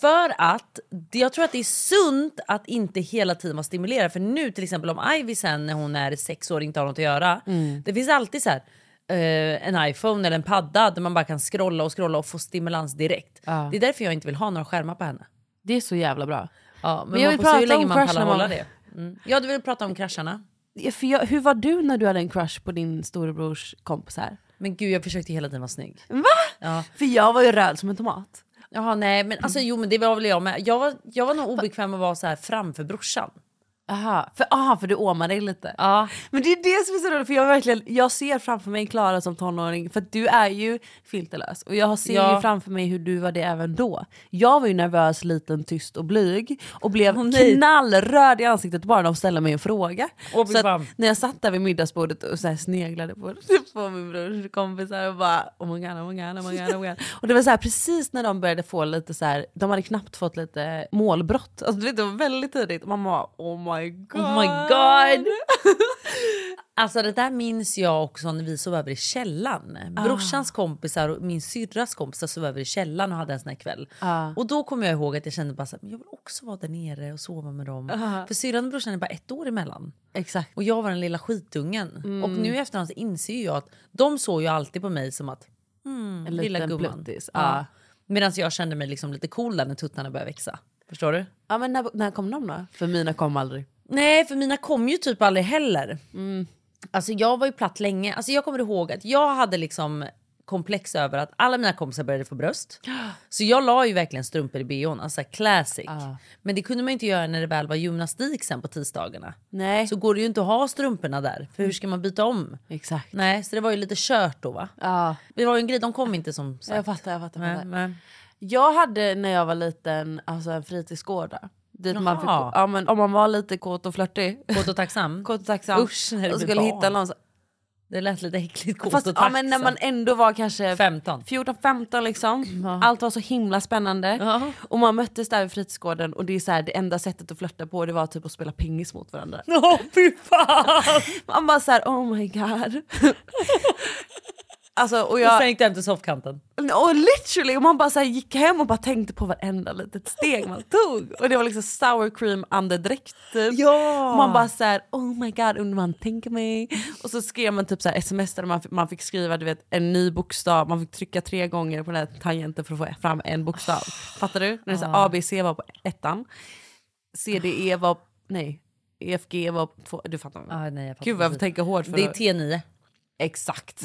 [SPEAKER 3] För att det- jag tror att det är sunt att inte hela tiden vara stimulerad. För nu till exempel om Ivy sen när hon är sex år inte har något att göra. Det finns alltid så här eh, en iPhone eller en padda där man bara kan scrolla och scrolla och få stimulans direkt.
[SPEAKER 2] Ja.
[SPEAKER 3] Det är därför jag inte vill ha några skärmar på henne.
[SPEAKER 2] Det är så jävla bra.
[SPEAKER 3] Ja, men,
[SPEAKER 2] Men jag
[SPEAKER 3] jag
[SPEAKER 2] vill
[SPEAKER 3] vill prata hur
[SPEAKER 2] prata
[SPEAKER 3] länge
[SPEAKER 2] om
[SPEAKER 3] man
[SPEAKER 2] crush när
[SPEAKER 3] pallar
[SPEAKER 2] man-
[SPEAKER 3] hålla det. Mm. Ja, du vill prata om krascharna.
[SPEAKER 2] För jag, hur var du när du hade en crush på din storebrors kompisar?
[SPEAKER 3] Men gud, jag försökte hela tiden vara snygg.
[SPEAKER 2] Va?
[SPEAKER 3] Ja.
[SPEAKER 2] För jag var ju röd som en tomat.
[SPEAKER 3] Jaha, nej, men alltså jo, men det var väl jag med. Jag var, jag var nog obekväm att vara så här framför brorsan.
[SPEAKER 2] Aha, för, aha, för du åmar dig lite. Men det är det som är så roligt, för jag, verkligen, jag ser framför mig Klara som tonåring, för att du är ju filterlös. Och jag ser
[SPEAKER 3] Ja.
[SPEAKER 2] ju framför mig hur du var det även då. Jag var ju nervös, liten, tyst och blyg och blev
[SPEAKER 3] nej.
[SPEAKER 2] knallröd i ansiktet bara de ställde mig en fråga.
[SPEAKER 3] Åh,
[SPEAKER 2] så att
[SPEAKER 3] fan.
[SPEAKER 2] när jag satt där vid middagsbordet och så här sneglade på, typ på min brors kompisar och bara oh my god, oh my god, oh my god, oh my god. Och det var så här, precis när de började få lite så här, de hade knappt fått lite målbrott. Alltså, du vet, det var väldigt tidigt. Och Mamma bara, oh my god.
[SPEAKER 3] Oh my god! Alltså det där minns jag också när vi sov över i källan.
[SPEAKER 2] Ah.
[SPEAKER 3] Brorsans kompisar och min syrras kompisar sov över i källan och hade en sån här kväll.
[SPEAKER 2] Ah.
[SPEAKER 3] Och då kommer jag ihåg att jag kände bara så här, "Men jag vill också vara där nere och sova med dem.
[SPEAKER 2] Ah.
[SPEAKER 3] För syrran och brorsan är bara ett år emellan.
[SPEAKER 2] Exakt.
[SPEAKER 3] Och jag var den lilla skitungen.
[SPEAKER 2] Mm.
[SPEAKER 3] Och nu i efterhand så inser ju jag att de såg ju alltid på mig som att mm,
[SPEAKER 2] En
[SPEAKER 3] lilla
[SPEAKER 2] liten
[SPEAKER 3] gumman.
[SPEAKER 2] pluttis, ah.
[SPEAKER 3] Ja. Medan jag kände mig liksom lite cool där när tuttarna började växa. Förstår du?
[SPEAKER 2] Ja men när, när kom de då? För mina kom aldrig.
[SPEAKER 3] Nej, för mina kom ju typ aldrig heller.
[SPEAKER 2] Mm.
[SPEAKER 3] Alltså jag var ju platt länge. Alltså jag kommer ihåg att jag hade liksom komplex över att alla mina kompisar började få bröst. Så jag la ju verkligen strumpor i bhn, alltså classic.
[SPEAKER 2] Ah.
[SPEAKER 3] Men det kunde man ju inte göra när det väl var gymnastik sen på tisdagarna.
[SPEAKER 2] Nej.
[SPEAKER 3] Så går det ju inte att ha strumporna där, för hur ska man byta om?
[SPEAKER 2] Exakt.
[SPEAKER 3] Nej, så det var ju lite kört då va?
[SPEAKER 2] Ja.
[SPEAKER 3] Det var ju en grej, de kom inte som sagt.
[SPEAKER 2] Ah. Jag fattar, jag fattar. jag
[SPEAKER 3] Nej,
[SPEAKER 2] fattar.
[SPEAKER 3] nej.
[SPEAKER 2] Jag hade när jag var liten alltså en fritidsgård där. Dit man fick,
[SPEAKER 3] Jaha.
[SPEAKER 2] ja, men om man var lite kåt och flörtig.
[SPEAKER 3] Kåt och tacksam.
[SPEAKER 2] kåt och tacksam.
[SPEAKER 3] Usch, när det
[SPEAKER 2] och
[SPEAKER 3] blir
[SPEAKER 2] skulle
[SPEAKER 3] barn.
[SPEAKER 2] hitta någon så-
[SPEAKER 3] Det lät lite äckligt, kåt
[SPEAKER 2] Fast,
[SPEAKER 3] och
[SPEAKER 2] ja,
[SPEAKER 3] tacksam.
[SPEAKER 2] men när man ändå var kanske
[SPEAKER 3] 15.
[SPEAKER 2] 14-15 liksom. Allt var så himla spännande. Och man möttes där i fritidsgården och det är så här, det enda sättet att flörta på det var typ att spela pingis mot varandra.
[SPEAKER 3] Åh fy fan!
[SPEAKER 2] man bara såhär oh my god. alltså, och
[SPEAKER 3] Och
[SPEAKER 2] jag,
[SPEAKER 3] sen gick du hem till soffkanten.
[SPEAKER 2] och literally, och man bara så här gick hem och bara tänkte på varenda litet steg man tog. Och det var liksom sour cream andedräkt. Typ.
[SPEAKER 3] Ja.
[SPEAKER 2] Och man bara så här, oh my god, undrar vad han tänker mig. Och så skrev man typ så här sms där man, fick- man fick skriva du vet, en ny bokstav, man fick trycka tre gånger på den här tangenten för att få fram en bokstav. Fattar du? När det är så här, A, B, C var på ettan, C, D, E var, nej, E, F, G var på två, du fattar.
[SPEAKER 3] Ah, nej, jag fattar
[SPEAKER 2] Gud vad jag
[SPEAKER 3] precis.
[SPEAKER 2] tänker hårt. För
[SPEAKER 3] Det är
[SPEAKER 2] att-
[SPEAKER 3] T9.
[SPEAKER 2] Exakt.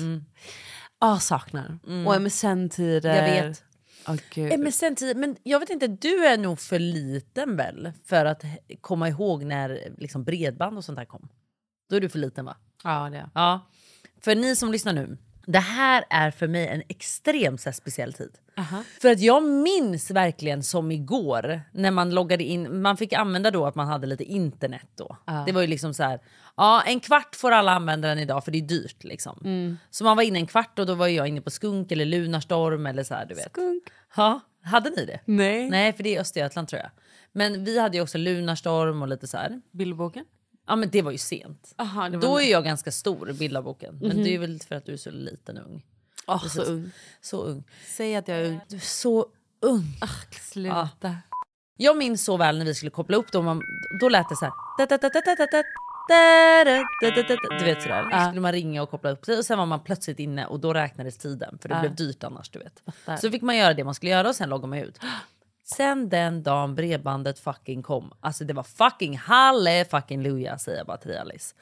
[SPEAKER 2] Ja, saknar.
[SPEAKER 3] Mm.
[SPEAKER 2] Och MSN-tider.
[SPEAKER 3] Jag vet.
[SPEAKER 2] Åh, gud.
[SPEAKER 3] Eh, Men, sen tid, men jag vet inte, du är nog för liten väl för att he- komma ihåg när liksom, bredband och sånt där kom? Då är du för liten va?
[SPEAKER 2] Ja, det är.
[SPEAKER 3] Ja. För ni som lyssnar nu, Det här är för mig en extremt så här, speciell tid. För att jag minns verkligen som igår när man loggade in. Man fick använda då att man hade lite internet då.
[SPEAKER 2] Ja.
[SPEAKER 3] Det var ju liksom så här, ja en kvart får alla använda den idag för det är dyrt liksom.
[SPEAKER 2] Mm.
[SPEAKER 3] Så man var inne en kvart och då var jag inne på Skunk eller Lunarstorm eller så här du vet. Skunk. Ja, hade ni det?
[SPEAKER 2] Nej.
[SPEAKER 3] Nej för det är Östergötland tror jag. Men vi hade ju också Lunarstorm och lite så här.
[SPEAKER 2] Bildboken?
[SPEAKER 3] Ja men det var ju sent.
[SPEAKER 2] Aha, det var
[SPEAKER 3] Då är jag ganska stor, Bildarboken. Men
[SPEAKER 2] Mhm.
[SPEAKER 3] det är väl för att du är så liten och ung.
[SPEAKER 2] Åh,
[SPEAKER 3] Precis.
[SPEAKER 2] så ung.
[SPEAKER 3] Så ung.
[SPEAKER 2] Säg att jag är ung.
[SPEAKER 3] Du är så ung.
[SPEAKER 2] sluta.
[SPEAKER 3] Ja. Jag minns så väl när vi skulle koppla upp dem. Då lät det så här. Du vet sådär. Så skulle man ringa och koppla upp sig och sen var man plötsligt inne och då räknades tiden för det
[SPEAKER 2] Ja.
[SPEAKER 3] blev dyrt annars du vet.
[SPEAKER 2] Fattar.
[SPEAKER 3] Så fick man göra det man skulle göra och sen loggade man ut. Sen den dagen bredbandet fucking kom, alltså det var fucking halle fucking luja säger jag bara till dig Alice.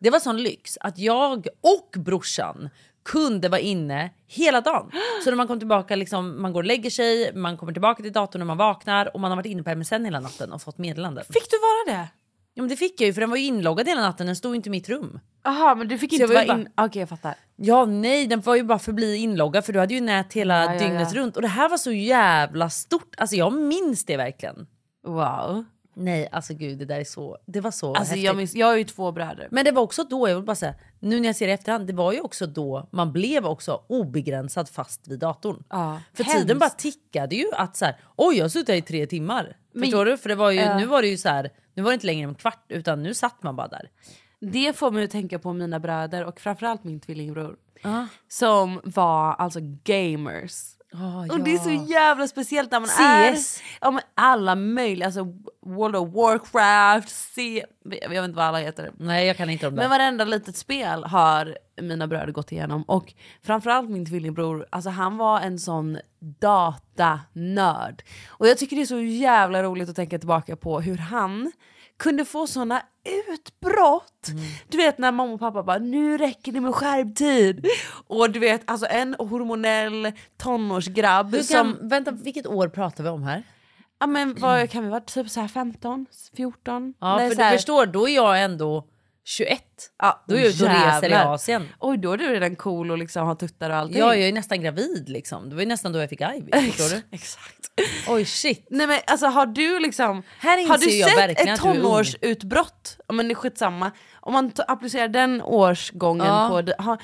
[SPEAKER 3] Det var sån lyx att jag och brorsan kunde vara inne hela dagen. Så när man kom tillbaka, liksom, man går och lägger sig, man kommer tillbaka till datorn när man vaknar och man har varit inne på MSN hela natten och fått meddelanden.
[SPEAKER 2] Fick du vara det?
[SPEAKER 3] Ja men det fick jag ju för den var ju inloggad hela natten, den stod ju inte i mitt rum.
[SPEAKER 2] Jaha, men du fick
[SPEAKER 3] Så
[SPEAKER 2] inte
[SPEAKER 3] jag var
[SPEAKER 2] vara
[SPEAKER 3] ju
[SPEAKER 2] in... ah, Okej, jag fattar.
[SPEAKER 3] Ja nej, den var ju bara förbli inloggad för du hade ju nät hela
[SPEAKER 2] Ja, ja,
[SPEAKER 3] dygnet
[SPEAKER 2] ja.
[SPEAKER 3] runt. Och det här var så jävla stort, alltså jag minns det verkligen.
[SPEAKER 2] Wow.
[SPEAKER 3] Nej alltså gud det där är så, det var så
[SPEAKER 2] Alltså,
[SPEAKER 3] häftigt.
[SPEAKER 2] jag, minns, jag har ju två bröder.
[SPEAKER 3] Men det var också då, jag vill bara säga, nu när jag ser det i efterhand, det var ju också då man blev också obegränsad fast vid datorn.
[SPEAKER 2] Ja,
[SPEAKER 3] För
[SPEAKER 2] hemskt.
[SPEAKER 3] tiden bara tickade ju att så här, oj jag har suttit här i tre timmar.
[SPEAKER 2] Men-
[SPEAKER 3] Förstår du? För det var ju,
[SPEAKER 2] Ja.
[SPEAKER 3] nu var det ju så här, nu var det inte längre en kvart utan nu satt man bara där.
[SPEAKER 2] Det får mig att tänka på mina bröder och framförallt min tvillingbror. Som var alltså gamers. Och det är så jävla speciellt när man
[SPEAKER 3] CS.
[SPEAKER 2] är... Ja, men alla möjliga, alltså World of Warcraft, C... Jag vet inte vad alla heter.
[SPEAKER 3] Nej jag kan inte om det.
[SPEAKER 2] Men varenda litet spel har mina bröder gått igenom. Och framförallt min tvillingbror, alltså han var en sån datanörd. Och jag tycker det är så jävla roligt att tänka tillbaka på hur han kunde få såna utbrott.
[SPEAKER 3] Mm.
[SPEAKER 2] Du vet när mamma och pappa bara nu räcker det med skärmtid. Och du vet alltså en hormonell tonårsgrabb
[SPEAKER 3] Hur
[SPEAKER 2] som...
[SPEAKER 3] kan, Vänta, vilket år pratar vi om här?
[SPEAKER 2] Ja men vad kan vi vara, typ så här 15, 14?
[SPEAKER 3] Ja
[SPEAKER 2] Nej,
[SPEAKER 3] för
[SPEAKER 2] så här-
[SPEAKER 3] du förstår, då är jag ändå 21.
[SPEAKER 2] Ja,
[SPEAKER 3] då är jag ute och
[SPEAKER 2] jävlar.
[SPEAKER 3] reser i Asien.
[SPEAKER 2] Oj då är du redan cool och liksom har tuttar och allting.
[SPEAKER 3] Ja, jag är nästan gravid liksom. Det var ju nästan då jag fick Ivy. Förstår du?
[SPEAKER 2] Exakt.
[SPEAKER 3] Oj shit.
[SPEAKER 2] Nej men alltså har du liksom,
[SPEAKER 3] Här
[SPEAKER 2] har du
[SPEAKER 3] inser jag
[SPEAKER 2] sett
[SPEAKER 3] verkligen
[SPEAKER 2] ett
[SPEAKER 3] att du är ung.
[SPEAKER 2] tonårsutbrott? Ja, men det är skitsamma. Om man t- applicerar den årsgången
[SPEAKER 3] Ja.
[SPEAKER 2] på, det- har,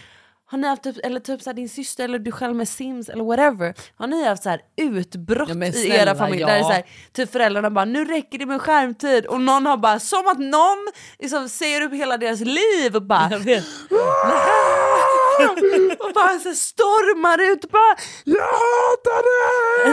[SPEAKER 2] har ni haft, typ, eller typ så här, din syster eller du själv med Sims eller whatever, har ni haft så här utbrott
[SPEAKER 3] Ja, men
[SPEAKER 2] i era
[SPEAKER 3] snälla,
[SPEAKER 2] familjer?
[SPEAKER 3] ja.
[SPEAKER 2] Där det är så här, typ föräldrarna bara nu räcker det med skärmtid och någon har bara som att någon liksom, säger upp hela deras liv och bara Ah! och bara så här stormar ut och bara Jag hatar dig!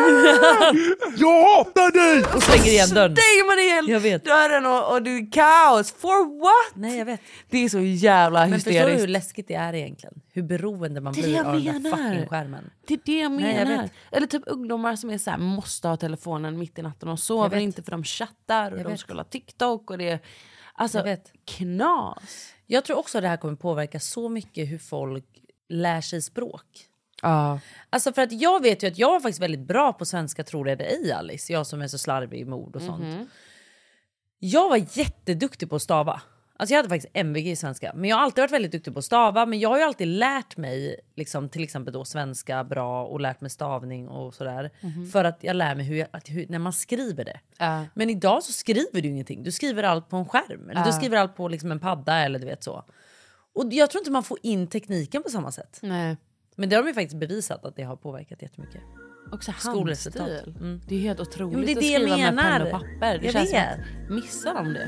[SPEAKER 2] Jag hatar dig!
[SPEAKER 3] Och slänger igen dörren.
[SPEAKER 2] Stänger man igen dörren och, och det är kaos. For what?
[SPEAKER 3] Nej jag vet.
[SPEAKER 2] Det är så jävla
[SPEAKER 3] Men förstår du hur
[SPEAKER 2] hysteriskt.
[SPEAKER 3] läskigt det är egentligen? Hur beroende man
[SPEAKER 2] Det är det
[SPEAKER 3] blir
[SPEAKER 2] jag
[SPEAKER 3] av den där
[SPEAKER 2] menar.
[SPEAKER 3] fucking skärmen.
[SPEAKER 2] Det är det jag
[SPEAKER 3] Nej, jag
[SPEAKER 2] menar.
[SPEAKER 3] vet.
[SPEAKER 2] Eller typ ungdomar som är så här, måste ha telefonen mitt i natten och
[SPEAKER 3] Jag
[SPEAKER 2] sover
[SPEAKER 3] vet.
[SPEAKER 2] inte för de chattar och
[SPEAKER 3] Jag
[SPEAKER 2] de
[SPEAKER 3] vet.
[SPEAKER 2] scrollar TikTok och det är alltså
[SPEAKER 3] Jag vet.
[SPEAKER 2] knas.
[SPEAKER 3] Jag tror också att det här kommer påverka så mycket hur folk lär sig språk.
[SPEAKER 2] Ja.
[SPEAKER 3] Alltså för att jag vet ju att jag var faktiskt väldigt bra på svenska tror jag det är i Alice. Jag som är så slarvig med
[SPEAKER 2] Mhm.
[SPEAKER 3] ord och sånt. Jag var jätteduktig på att stava. Alltså jag hade faktiskt MVG i svenska. Men jag har alltid varit väldigt duktig på att stava. Men jag har ju alltid lärt mig liksom, till exempel då svenska bra och lärt mig stavning och sådär.
[SPEAKER 2] Mhm.
[SPEAKER 3] För att jag lär mig hur, jag, att, hur när man skriver det.
[SPEAKER 2] Ja.
[SPEAKER 3] Men idag så skriver du ingenting. Du skriver allt på en skärm. Eller
[SPEAKER 2] Ja.
[SPEAKER 3] du skriver allt på liksom en padda eller du vet så. Och jag tror inte man får in tekniken på samma sätt.
[SPEAKER 2] Nej.
[SPEAKER 3] Men det har de ju faktiskt bevisat att det har påverkat jättemycket.
[SPEAKER 2] Också
[SPEAKER 3] Skolresultat.
[SPEAKER 2] handstil.
[SPEAKER 3] Mm.
[SPEAKER 2] Det är helt otroligt
[SPEAKER 3] Ja, men det är
[SPEAKER 2] att
[SPEAKER 3] det jag
[SPEAKER 2] skriva med
[SPEAKER 3] menar.
[SPEAKER 2] penna och papper. Det
[SPEAKER 3] Jag
[SPEAKER 2] känns som
[SPEAKER 3] vet.
[SPEAKER 2] att missar de det?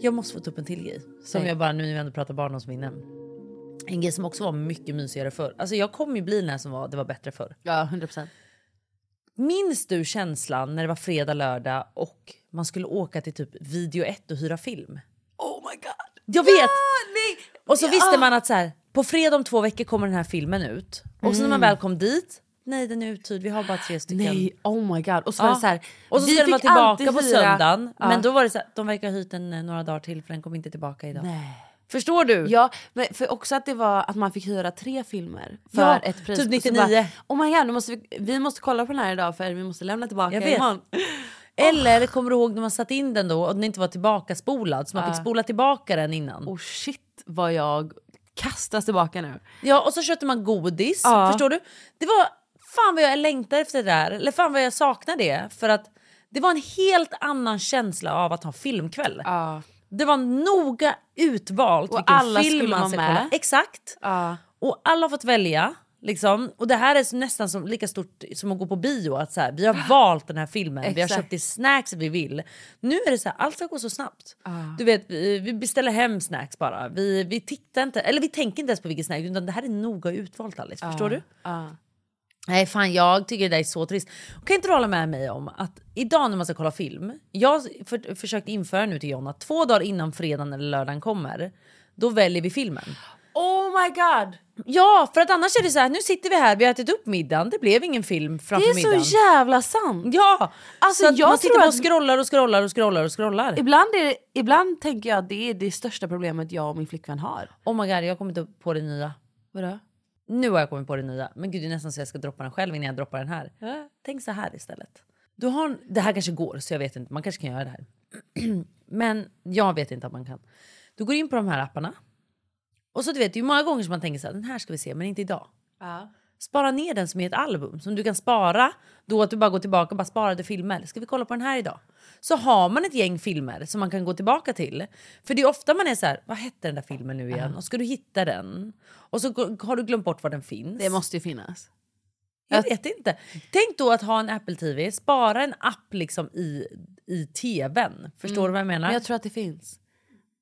[SPEAKER 3] Jag måste få ta upp en till grej. Som
[SPEAKER 8] Nej.
[SPEAKER 3] jag bara, nu när vi ändå pratar barndomsminnen. En grej som också var mycket mysigare förr. Alltså jag kommer ju bli den här som var, det var bättre förr.
[SPEAKER 2] Ja, 100%.
[SPEAKER 3] Minns du känslan när det var fredag, lördag och man skulle åka till typ video 1 och hyra film?
[SPEAKER 2] Oh my god.
[SPEAKER 3] Jag vet! Och så visste man att så här, på fredag om två veckor kommer den här filmen ut. Och så när man
[SPEAKER 2] Mm.
[SPEAKER 3] väl kom dit, nej den är uthyrd, vi har bara tre stycken.
[SPEAKER 2] Nej, oh my god. Och så var
[SPEAKER 3] Ja.
[SPEAKER 2] det så här,
[SPEAKER 3] och så
[SPEAKER 2] vi
[SPEAKER 3] skulle den vara
[SPEAKER 2] fick alltid
[SPEAKER 3] tillbaka på
[SPEAKER 2] hyra-
[SPEAKER 3] söndagen.
[SPEAKER 2] Ja.
[SPEAKER 3] Men då var det så här, de verkar ha hyrt den eh, några dagar till för den kommer inte tillbaka idag.
[SPEAKER 2] Förstår du? Ja, men för också att det var att man fick hyra tre filmer för
[SPEAKER 3] Ja,
[SPEAKER 2] ett pris.
[SPEAKER 3] typ
[SPEAKER 2] Och så
[SPEAKER 3] 99.
[SPEAKER 2] Bara, oh my god, nu måste vi, vi måste kolla på den här idag för vi måste lämna tillbaka
[SPEAKER 3] Jag vet.
[SPEAKER 2] imorgon.
[SPEAKER 3] Eller kommer du ihåg när man satte in den då och den inte var tillbaka spolad så man
[SPEAKER 2] Ja.
[SPEAKER 3] fick spola tillbaka den innan.
[SPEAKER 2] Oh shit vad jag kastas tillbaka nu.
[SPEAKER 3] Ja och så köpte man godis,
[SPEAKER 2] Ja.
[SPEAKER 3] förstår du? Det var fan vad jag längtar efter det där, eller fan vad jag saknar det för att det var en helt annan känsla av att ha filmkväll. Det var noga utvalt
[SPEAKER 2] Och
[SPEAKER 3] vilken
[SPEAKER 2] alla
[SPEAKER 3] film
[SPEAKER 2] skulle
[SPEAKER 3] man
[SPEAKER 2] vara
[SPEAKER 3] ska
[SPEAKER 2] med.
[SPEAKER 3] kolla. Exakt. Och alla har fått välja. Liksom. Och det här är så- nästan som, lika stort som att gå på bio. Att så här, vi har valt den här filmen, vi har
[SPEAKER 2] Exakt.
[SPEAKER 3] köpt det snacks vi vill. Nu är det så här, allt ska gå så snabbt.
[SPEAKER 2] Ah.
[SPEAKER 3] Du vet, vi vi beställer hem snacks bara. Vi, vi tittar inte, eller vi tänker inte ens på vilken snack, utan det här är noga utvalt Alice. Förstår
[SPEAKER 2] Ah,
[SPEAKER 3] du?
[SPEAKER 2] ah.
[SPEAKER 3] Nej fan jag tycker det där är så trist. Och kan inte du hålla med mig om att idag när man ska kolla film, jag har för, försökt införa nu till John att två dagar innan fredagen eller lördagen kommer, då väljer vi filmen.
[SPEAKER 2] Oh my god!
[SPEAKER 3] Ja, för att annars är det så här, nu sitter vi här, vi har ätit upp middagen, det blev ingen film
[SPEAKER 2] Det
[SPEAKER 3] framför
[SPEAKER 2] är
[SPEAKER 3] middagen.
[SPEAKER 2] så jävla sant.
[SPEAKER 3] Ja!
[SPEAKER 2] Alltså,
[SPEAKER 3] så att
[SPEAKER 2] jag
[SPEAKER 3] man sitter
[SPEAKER 2] tror
[SPEAKER 3] bara
[SPEAKER 2] att-
[SPEAKER 3] och scrollar och scrollar och scrollar och scrollar.
[SPEAKER 2] Ibland, är, ibland tänker jag att det är det största problemet jag och min flickvän har.
[SPEAKER 3] Oh my god, jag har kommit upp på det nya.
[SPEAKER 2] Vadå?
[SPEAKER 3] Nu har jag kommit på det nya, men gud det är nästan så jag ska droppa den själv innan jag droppar den här. Tänk så här istället. Du har, en- det här kanske går, så jag vet inte, man kanske kan göra det här. men jag vet inte att man kan. Du går in på de här apparna. Och så du vet, det är ju många gånger som man tänker så här, den här ska vi se, men inte idag. Spara ner den som är ett album som du kan spara. Då att du bara går tillbaka och bara sparade filmer. Ska vi kolla på den här idag? Så har man ett gäng filmer som man kan gå tillbaka till. För det är ofta man är så här, vad hette den där filmen nu igen?
[SPEAKER 2] Ja.
[SPEAKER 3] Och ska du hitta den? Och så g- har du glömt bort var den finns.
[SPEAKER 2] Det måste ju finnas.
[SPEAKER 3] Jag vet inte. Tänk då att ha en Apple TV, spara en app liksom i, i tvn. Förstår
[SPEAKER 2] Mm.
[SPEAKER 3] du vad jag menar?
[SPEAKER 2] Men jag tror att det finns.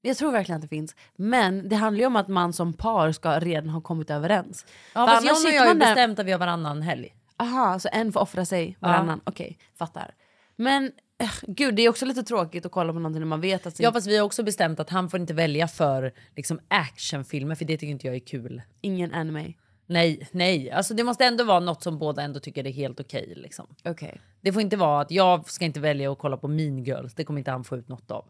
[SPEAKER 2] Jag tror verkligen att det finns. Men det handlar ju om att man som par ska redan ha kommit överens.
[SPEAKER 3] ja,
[SPEAKER 2] För
[SPEAKER 3] fast
[SPEAKER 2] annars
[SPEAKER 3] John och
[SPEAKER 2] sitter
[SPEAKER 3] jag har ju
[SPEAKER 2] man där-
[SPEAKER 3] bestämt att vi har varannan helg.
[SPEAKER 2] Aha, så en får offra sig, varannan. Okej, fattar. Men eh, gud, det är också lite tråkigt att kolla på någonting när man vet att... sin-
[SPEAKER 3] Ja fast vi har också bestämt att han får inte välja för liksom, actionfilmer för det tycker inte jag är kul.
[SPEAKER 2] Ingen anime.
[SPEAKER 3] Nej, nej. Alltså det måste ändå vara något som båda ändå tycker är helt okej. liksom.
[SPEAKER 2] Okej.
[SPEAKER 3] Det får inte vara att jag ska inte välja att kolla på Mean Girls, det kommer inte han få ut något av.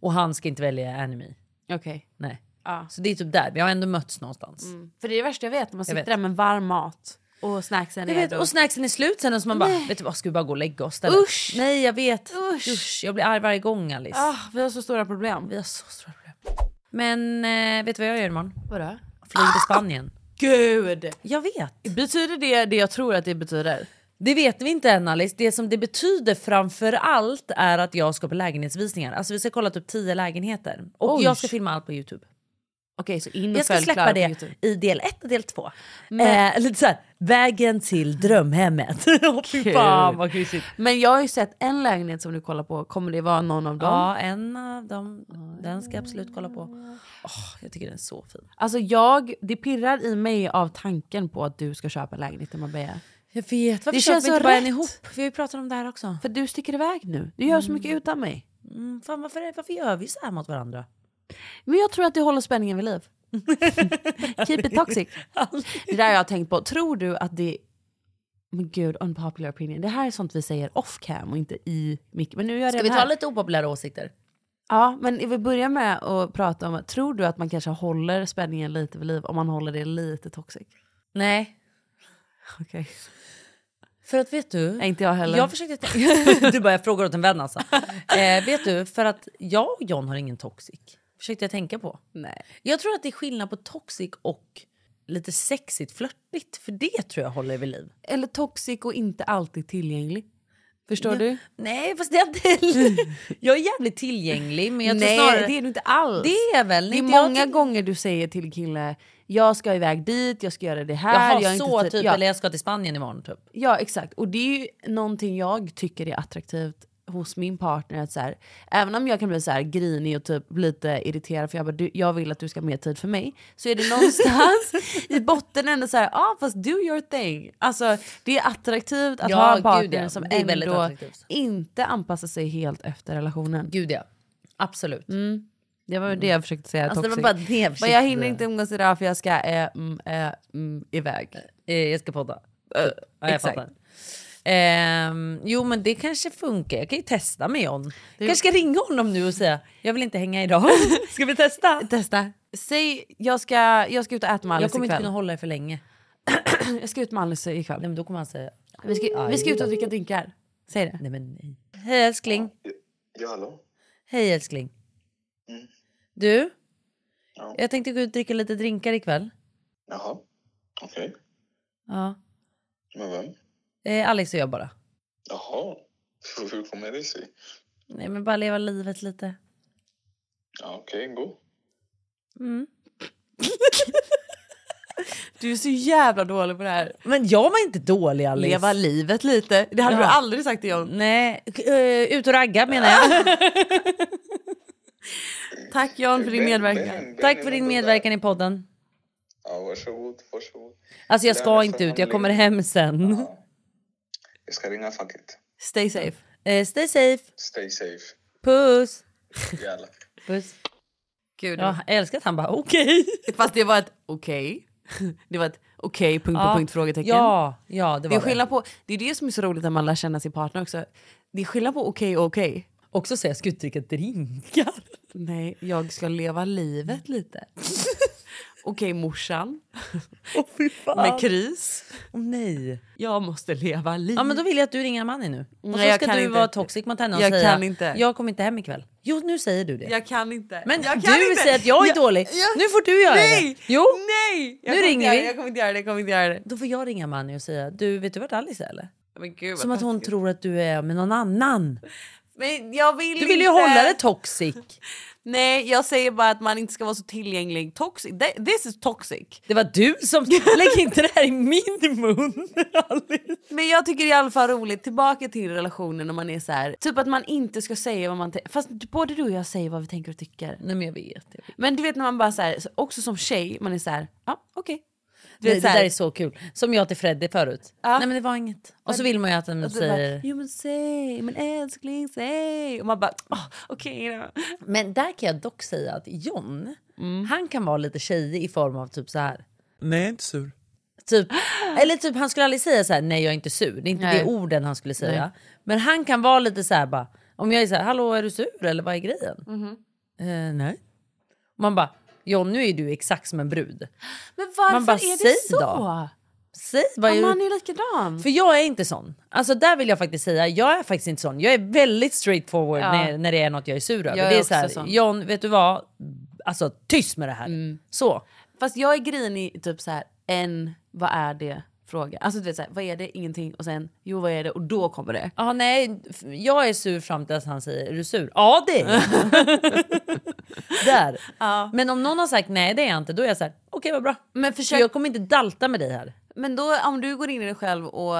[SPEAKER 3] Och han ska inte välja anime.
[SPEAKER 2] Okej.
[SPEAKER 3] Nej. Så det är typ där, vi har ändå mötts någonstans.
[SPEAKER 2] För det är det värsta jag vet, när man
[SPEAKER 3] Jag
[SPEAKER 2] sitter
[SPEAKER 3] vet.
[SPEAKER 2] där med varm mat och snacksen
[SPEAKER 3] Jag
[SPEAKER 2] är
[SPEAKER 3] vet,
[SPEAKER 2] redo.
[SPEAKER 3] och snacksen är slut sen och så man bara,
[SPEAKER 2] Nej.
[SPEAKER 3] vet du vad ska vi bara gå och lägga oss? Där? Usch! Nej jag vet, usch. Jag blir arg varje gång Alice.
[SPEAKER 2] Ah, vi har så stora problem.
[SPEAKER 3] Vi har så stora problem. Men eh, vet du vad jag gör imorgon?
[SPEAKER 2] Vadå?
[SPEAKER 3] Flyger till Spanien.
[SPEAKER 2] Gud!
[SPEAKER 3] Ah. Jag vet.
[SPEAKER 2] Betyder det det jag tror att det betyder?
[SPEAKER 3] Det vet vi inte än Alice. Det som det betyder framför allt är att jag ska på lägenhetsvisningar. Alltså vi ska kolla typ 10 lägenheter. Och
[SPEAKER 2] Oj.
[SPEAKER 3] jag ska filma allt på Youtube.
[SPEAKER 2] Okej, så in och
[SPEAKER 3] Jag ska
[SPEAKER 2] följ
[SPEAKER 3] släppa
[SPEAKER 2] Klara på
[SPEAKER 3] det
[SPEAKER 2] YouTube.
[SPEAKER 3] i del 1 och del 2.
[SPEAKER 2] Men-
[SPEAKER 3] Eh, lite såhär, vägen till drömhemmet. Åh, Fy fan vad mysigt.
[SPEAKER 2] Men jag har ju sett en lägenhet som du kollar på, kommer det vara någon av dem?
[SPEAKER 3] Ja, en av dem. Den ska jag absolut kolla på. Åh, jag tycker den är så fin.
[SPEAKER 2] Alltså jag, det pirrar i mig av tanken på att du ska köpa en lägenhet i Marbella.
[SPEAKER 3] Jag vet, varför
[SPEAKER 2] det
[SPEAKER 3] köper
[SPEAKER 2] känns
[SPEAKER 3] vi
[SPEAKER 2] så
[SPEAKER 3] inte bara en
[SPEAKER 2] rätt
[SPEAKER 3] ihop? Vi har ju pratat om det här också.
[SPEAKER 2] För du sticker iväg nu. Du gör så mycket utan mig.
[SPEAKER 3] Mm, fan, varför, varför gör vi så här mot varandra?
[SPEAKER 2] Men jag tror att det håller spänningen vid liv. Keep it toxic.
[SPEAKER 3] Alltså,
[SPEAKER 2] Det där jag har tänkt på. Tror du att det... Men gud, unpopular opinion. Det här är sånt vi säger off cam och inte i mick. Men nu gör jag
[SPEAKER 3] Ska vi
[SPEAKER 2] det
[SPEAKER 3] ta
[SPEAKER 2] här.
[SPEAKER 3] lite opopulära åsikter?
[SPEAKER 2] Ja, men vi börjar med att prata om, tror du att man kanske håller spänningen lite vid liv om man håller det lite toxic?
[SPEAKER 3] Nej.
[SPEAKER 2] Okej.
[SPEAKER 3] För att vet du...
[SPEAKER 2] Nej, inte jag heller.
[SPEAKER 3] Jag försökte tänka... du bara, jag frågar åt en vän alltså. eh, vet du, för att jag och John har ingen toxic. Försökte jag tänka på.
[SPEAKER 2] Nej.
[SPEAKER 3] Jag tror att det är skillnad på toxic och lite sexigt, flörtigt. För det tror jag håller vid liv.
[SPEAKER 2] Eller toxic och inte alltid tillgänglig. Förstår
[SPEAKER 3] Ja.
[SPEAKER 2] du?
[SPEAKER 3] Nej, fast det är inte... jag är jävligt tillgänglig, men jag tror
[SPEAKER 2] Nej,
[SPEAKER 3] snarare...
[SPEAKER 2] det är du inte alls.
[SPEAKER 3] Det är väl
[SPEAKER 2] Det är
[SPEAKER 3] inte jag typ-
[SPEAKER 2] många
[SPEAKER 3] till-
[SPEAKER 2] gånger du säger till kille, jag ska iväg dit, jag ska göra det här.
[SPEAKER 3] Jaha,
[SPEAKER 2] jag är
[SPEAKER 3] så
[SPEAKER 2] inte
[SPEAKER 3] typ.
[SPEAKER 2] Ja.
[SPEAKER 3] Eller jag ska till Spanien imorgon typ.
[SPEAKER 2] Ja exakt, och det är ju någonting jag tycker är attraktivt hos min partner. Att så här, även om jag kan bli så här grinig och typ lite irriterad för jag, bara, du, jag vill att du ska ha mer tid för mig. Så är det någonstans i botten ändå så här, ja ah, fast do your thing. Alltså det är attraktivt att
[SPEAKER 3] Ja,
[SPEAKER 2] ha en
[SPEAKER 3] gud,
[SPEAKER 2] partner
[SPEAKER 3] ja.
[SPEAKER 2] som
[SPEAKER 3] Det är väldigt
[SPEAKER 2] ändå
[SPEAKER 3] attraktivt.
[SPEAKER 2] inte anpassar sig helt efter relationen.
[SPEAKER 3] Gud ja, absolut.
[SPEAKER 2] Mm. Det var det jag försökte säga,
[SPEAKER 3] Alltså, det var
[SPEAKER 2] toxic.
[SPEAKER 3] bara det jag
[SPEAKER 2] Men jag
[SPEAKER 3] försökte
[SPEAKER 2] hinner
[SPEAKER 3] säga.
[SPEAKER 2] inte umgås idag för jag ska eh, mm, eh, mm, iväg.
[SPEAKER 3] Eh, jag ska podda. ja, jag
[SPEAKER 2] exakt.
[SPEAKER 3] fattar. Ehm, jo men det kanske funkar, jag kan ju testa med John. Du... kanske ska ringa honom nu och säga jag vill inte hänga idag. ska vi testa?
[SPEAKER 2] Testa. Säg jag ska, jag ska ut och äta med Alice
[SPEAKER 3] jag kommer inte
[SPEAKER 2] ikväll.
[SPEAKER 3] kunna hålla er för länge.
[SPEAKER 2] jag ska ut med Alice ikväll.
[SPEAKER 3] Nej, men då kommer han säga...
[SPEAKER 2] Vi ska, vi ska ut och dricka drinkar. Säg det.
[SPEAKER 3] Nej, men nej. Hej älskling.
[SPEAKER 9] Ja, hallå?
[SPEAKER 3] Hej älskling.
[SPEAKER 9] Mm.
[SPEAKER 3] Du? Jag tänkte gå ut och dricka lite drinkar ikväll.
[SPEAKER 9] Jaha, okej.
[SPEAKER 3] Ja.
[SPEAKER 9] Med vem?
[SPEAKER 3] Eh, Alex och jag bara.
[SPEAKER 9] Jaha, hur kommer det sig?
[SPEAKER 3] Nej men bara leva livet lite.
[SPEAKER 9] Ja, okej, gå.
[SPEAKER 3] Mm.
[SPEAKER 2] Du är så jävla dålig på det här.
[SPEAKER 3] Men jag var inte dålig Alice.
[SPEAKER 2] Leva livet lite. Det hade
[SPEAKER 3] Ja.
[SPEAKER 2] du aldrig sagt till John.
[SPEAKER 3] Nej, eh, ut och ragga menar jag.
[SPEAKER 2] Tack John för din
[SPEAKER 3] Den-
[SPEAKER 2] medverkan.
[SPEAKER 9] den-
[SPEAKER 3] Tack för din medverkan i podden.
[SPEAKER 9] Ja, varsågod, varsågod.
[SPEAKER 3] Alltså jag
[SPEAKER 9] Den
[SPEAKER 3] ska
[SPEAKER 9] är
[SPEAKER 3] inte ut, jag
[SPEAKER 9] förhandling.
[SPEAKER 3] kommer hem sen.
[SPEAKER 9] Jag ska ringa facket.
[SPEAKER 2] Stay safe.
[SPEAKER 3] Eh, stay safe.
[SPEAKER 9] Stay safe.
[SPEAKER 3] Puss.
[SPEAKER 9] Jalla.
[SPEAKER 3] Puss.
[SPEAKER 2] Gud.
[SPEAKER 3] Ja, jag älskar att han bara okej.
[SPEAKER 2] Fast det var ett okej. Det var ett okej punkt på
[SPEAKER 3] Ja.
[SPEAKER 2] punkt frågetecken.
[SPEAKER 3] Ja, ja, det var
[SPEAKER 2] det. Är
[SPEAKER 3] det.
[SPEAKER 2] skillnad På, det är det som är så roligt när man lär känna sin partner också. Det är skillnad på okej och okej.
[SPEAKER 3] Också säga jag ska ut och dricka drinkar.
[SPEAKER 2] Nej, jag ska leva livet lite. Okej morsan. Med kris.
[SPEAKER 3] Åh nej.
[SPEAKER 2] Jag måste leva livet.
[SPEAKER 3] Ja men då vill jag att du ringer Manny nu. Och
[SPEAKER 2] Nej,
[SPEAKER 3] så
[SPEAKER 2] jag
[SPEAKER 3] ska
[SPEAKER 2] kan
[SPEAKER 3] du
[SPEAKER 2] inte.
[SPEAKER 3] vara toxic mot henne och
[SPEAKER 2] Jag
[SPEAKER 3] säga
[SPEAKER 2] kan inte.
[SPEAKER 3] jag kommer inte hem ikväll. Jo nu säger du det.
[SPEAKER 2] Jag kan inte.
[SPEAKER 3] Men
[SPEAKER 2] jag kan
[SPEAKER 3] du
[SPEAKER 2] inte.
[SPEAKER 3] säger att jag är dålig. Nu får du göra
[SPEAKER 2] Nej!
[SPEAKER 3] det. Jo.
[SPEAKER 2] Nej! Jag
[SPEAKER 3] Nu
[SPEAKER 2] kommer inte
[SPEAKER 3] ringer
[SPEAKER 2] göra
[SPEAKER 3] vi.
[SPEAKER 2] det, Jag kommer inte göra det, jag kommer inte göra det.
[SPEAKER 3] Då får jag ringa Manny och säga du vet du vart Alice är eller?
[SPEAKER 2] Men gud, vad
[SPEAKER 3] Som att hon
[SPEAKER 2] taskigt.
[SPEAKER 3] tror att du är med någon annan.
[SPEAKER 2] Men jag vill
[SPEAKER 3] Du vill ju
[SPEAKER 2] inte.
[SPEAKER 3] hålla det toxic.
[SPEAKER 2] Nej, jag säger bara att man inte ska vara så tillgänglig. Toxic. Th- This is toxic.
[SPEAKER 3] Det var du som... Lägg inte det här i min mun!
[SPEAKER 2] Men jag tycker det är i alla fall roligt, tillbaka till relationen när man är så här, typ att man inte ska säga vad man tänker. Fast både du och jag säger vad vi tänker och tycker.
[SPEAKER 3] Nej men jag vet. Jag vet.
[SPEAKER 2] Men du vet när man bara så här, också som tjej, man är så här, ja okej. Du
[SPEAKER 3] Nej,
[SPEAKER 2] vet
[SPEAKER 3] det
[SPEAKER 2] här,
[SPEAKER 3] där är så kul. Som jag till Freddy förut.
[SPEAKER 2] Ja.
[SPEAKER 3] Nej men det var inget. Och så
[SPEAKER 2] Men-
[SPEAKER 3] vill man ju att de
[SPEAKER 2] Och så bara,
[SPEAKER 3] säger...
[SPEAKER 2] Jo men säg, men älskling säg. Och man bara "Åh, okej då.
[SPEAKER 3] Men där kan jag dock säga att John,
[SPEAKER 2] Mm.
[SPEAKER 3] han kan vara lite tjejig i form av typ så här.
[SPEAKER 10] Nej, jag är inte sur.
[SPEAKER 3] Typ, eller typ han skulle aldrig säga så här nej jag är inte sur. Det är inte
[SPEAKER 2] Nej.
[SPEAKER 3] det orden han skulle säga.
[SPEAKER 2] Nej.
[SPEAKER 3] Men han kan vara lite så här bara. Om jag är så här hallå är du sur eller vad är grejen?
[SPEAKER 2] Mm-hmm.
[SPEAKER 3] Eh, nej. Man bara John nu är ju du exakt som en brud.
[SPEAKER 2] Men varför
[SPEAKER 3] Man bara,
[SPEAKER 2] är
[SPEAKER 3] "Säg
[SPEAKER 2] det så?
[SPEAKER 3] då." Säg vad
[SPEAKER 2] Ja,
[SPEAKER 3] är
[SPEAKER 2] man
[SPEAKER 3] du-
[SPEAKER 2] är ju likadan.
[SPEAKER 3] För jag är inte sån. Alltså där vill jag faktiskt säga, jag är faktiskt inte sån. Jag är väldigt straightforward
[SPEAKER 2] Ja.
[SPEAKER 3] när, när det är något jag är sur över.
[SPEAKER 2] Jag är
[SPEAKER 3] det är så
[SPEAKER 2] också
[SPEAKER 3] här,
[SPEAKER 2] sån.
[SPEAKER 3] John vet du vad? Alltså Mm. tyst med det här. Så.
[SPEAKER 2] Fast jag är grinig typ så här, en, vad är det? fråga. Alltså du vet såhär, vad är det? Ingenting. Och sen, jo vad är det? Och då kommer det.
[SPEAKER 3] Ja, nej, f- jag är sur fram tills han säger är du sur? Ja det är jag. Där. Men om någon har sagt nej det är jag inte, då är jag så här, okej vad bra.
[SPEAKER 2] Men
[SPEAKER 3] försök... Jag kommer inte dalta med dig här.
[SPEAKER 2] Men då om du går in i dig själv och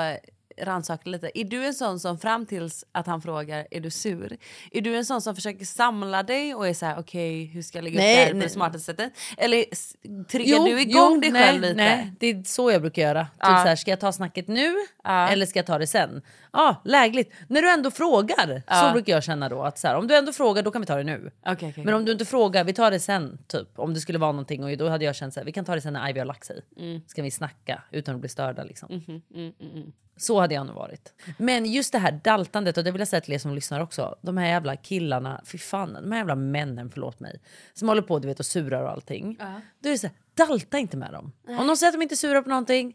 [SPEAKER 2] rannsakar lite. Är du en sån som fram tills att han frågar är du sur? Är du en sån som försöker samla dig och är så här okej hur ska jag lägga
[SPEAKER 3] Nej,
[SPEAKER 2] upp det här på
[SPEAKER 3] nej.
[SPEAKER 2] det smartaste sättet? Eller s- triggar du igång dig
[SPEAKER 3] nej,
[SPEAKER 2] själv lite?
[SPEAKER 3] Nej, det är så jag brukar göra. Typ
[SPEAKER 2] Ja.
[SPEAKER 3] så här, ska jag ta snacket nu eller ska jag ta det sen? Ja, lägligt. När du ändå frågar,
[SPEAKER 2] Ja.
[SPEAKER 3] så brukar jag känna då. Att så här, om du ändå frågar, då kan vi ta det nu.
[SPEAKER 2] Okej, okej.
[SPEAKER 3] Men om du inte frågar, vi tar det sen. Typ. Om det skulle vara någonting, och då hade jag känt så här, vi kan ta det sen när Ivy har lagt sig.
[SPEAKER 2] Mm.
[SPEAKER 3] Ska vi snacka utan att bli störda liksom.
[SPEAKER 2] Mhm, mm, mm, mm.
[SPEAKER 3] Så hade jag nog varit. Men just det här daltandet, och det vill jag säga till er som lyssnar också. De här jävla killarna, fy fan, de här jävla männen, förlåt mig. Som håller på du vet, och surar och allting.
[SPEAKER 2] Ja.
[SPEAKER 3] Då är det så här, dalta inte med dem. Om de säger att de inte är sura på någonting,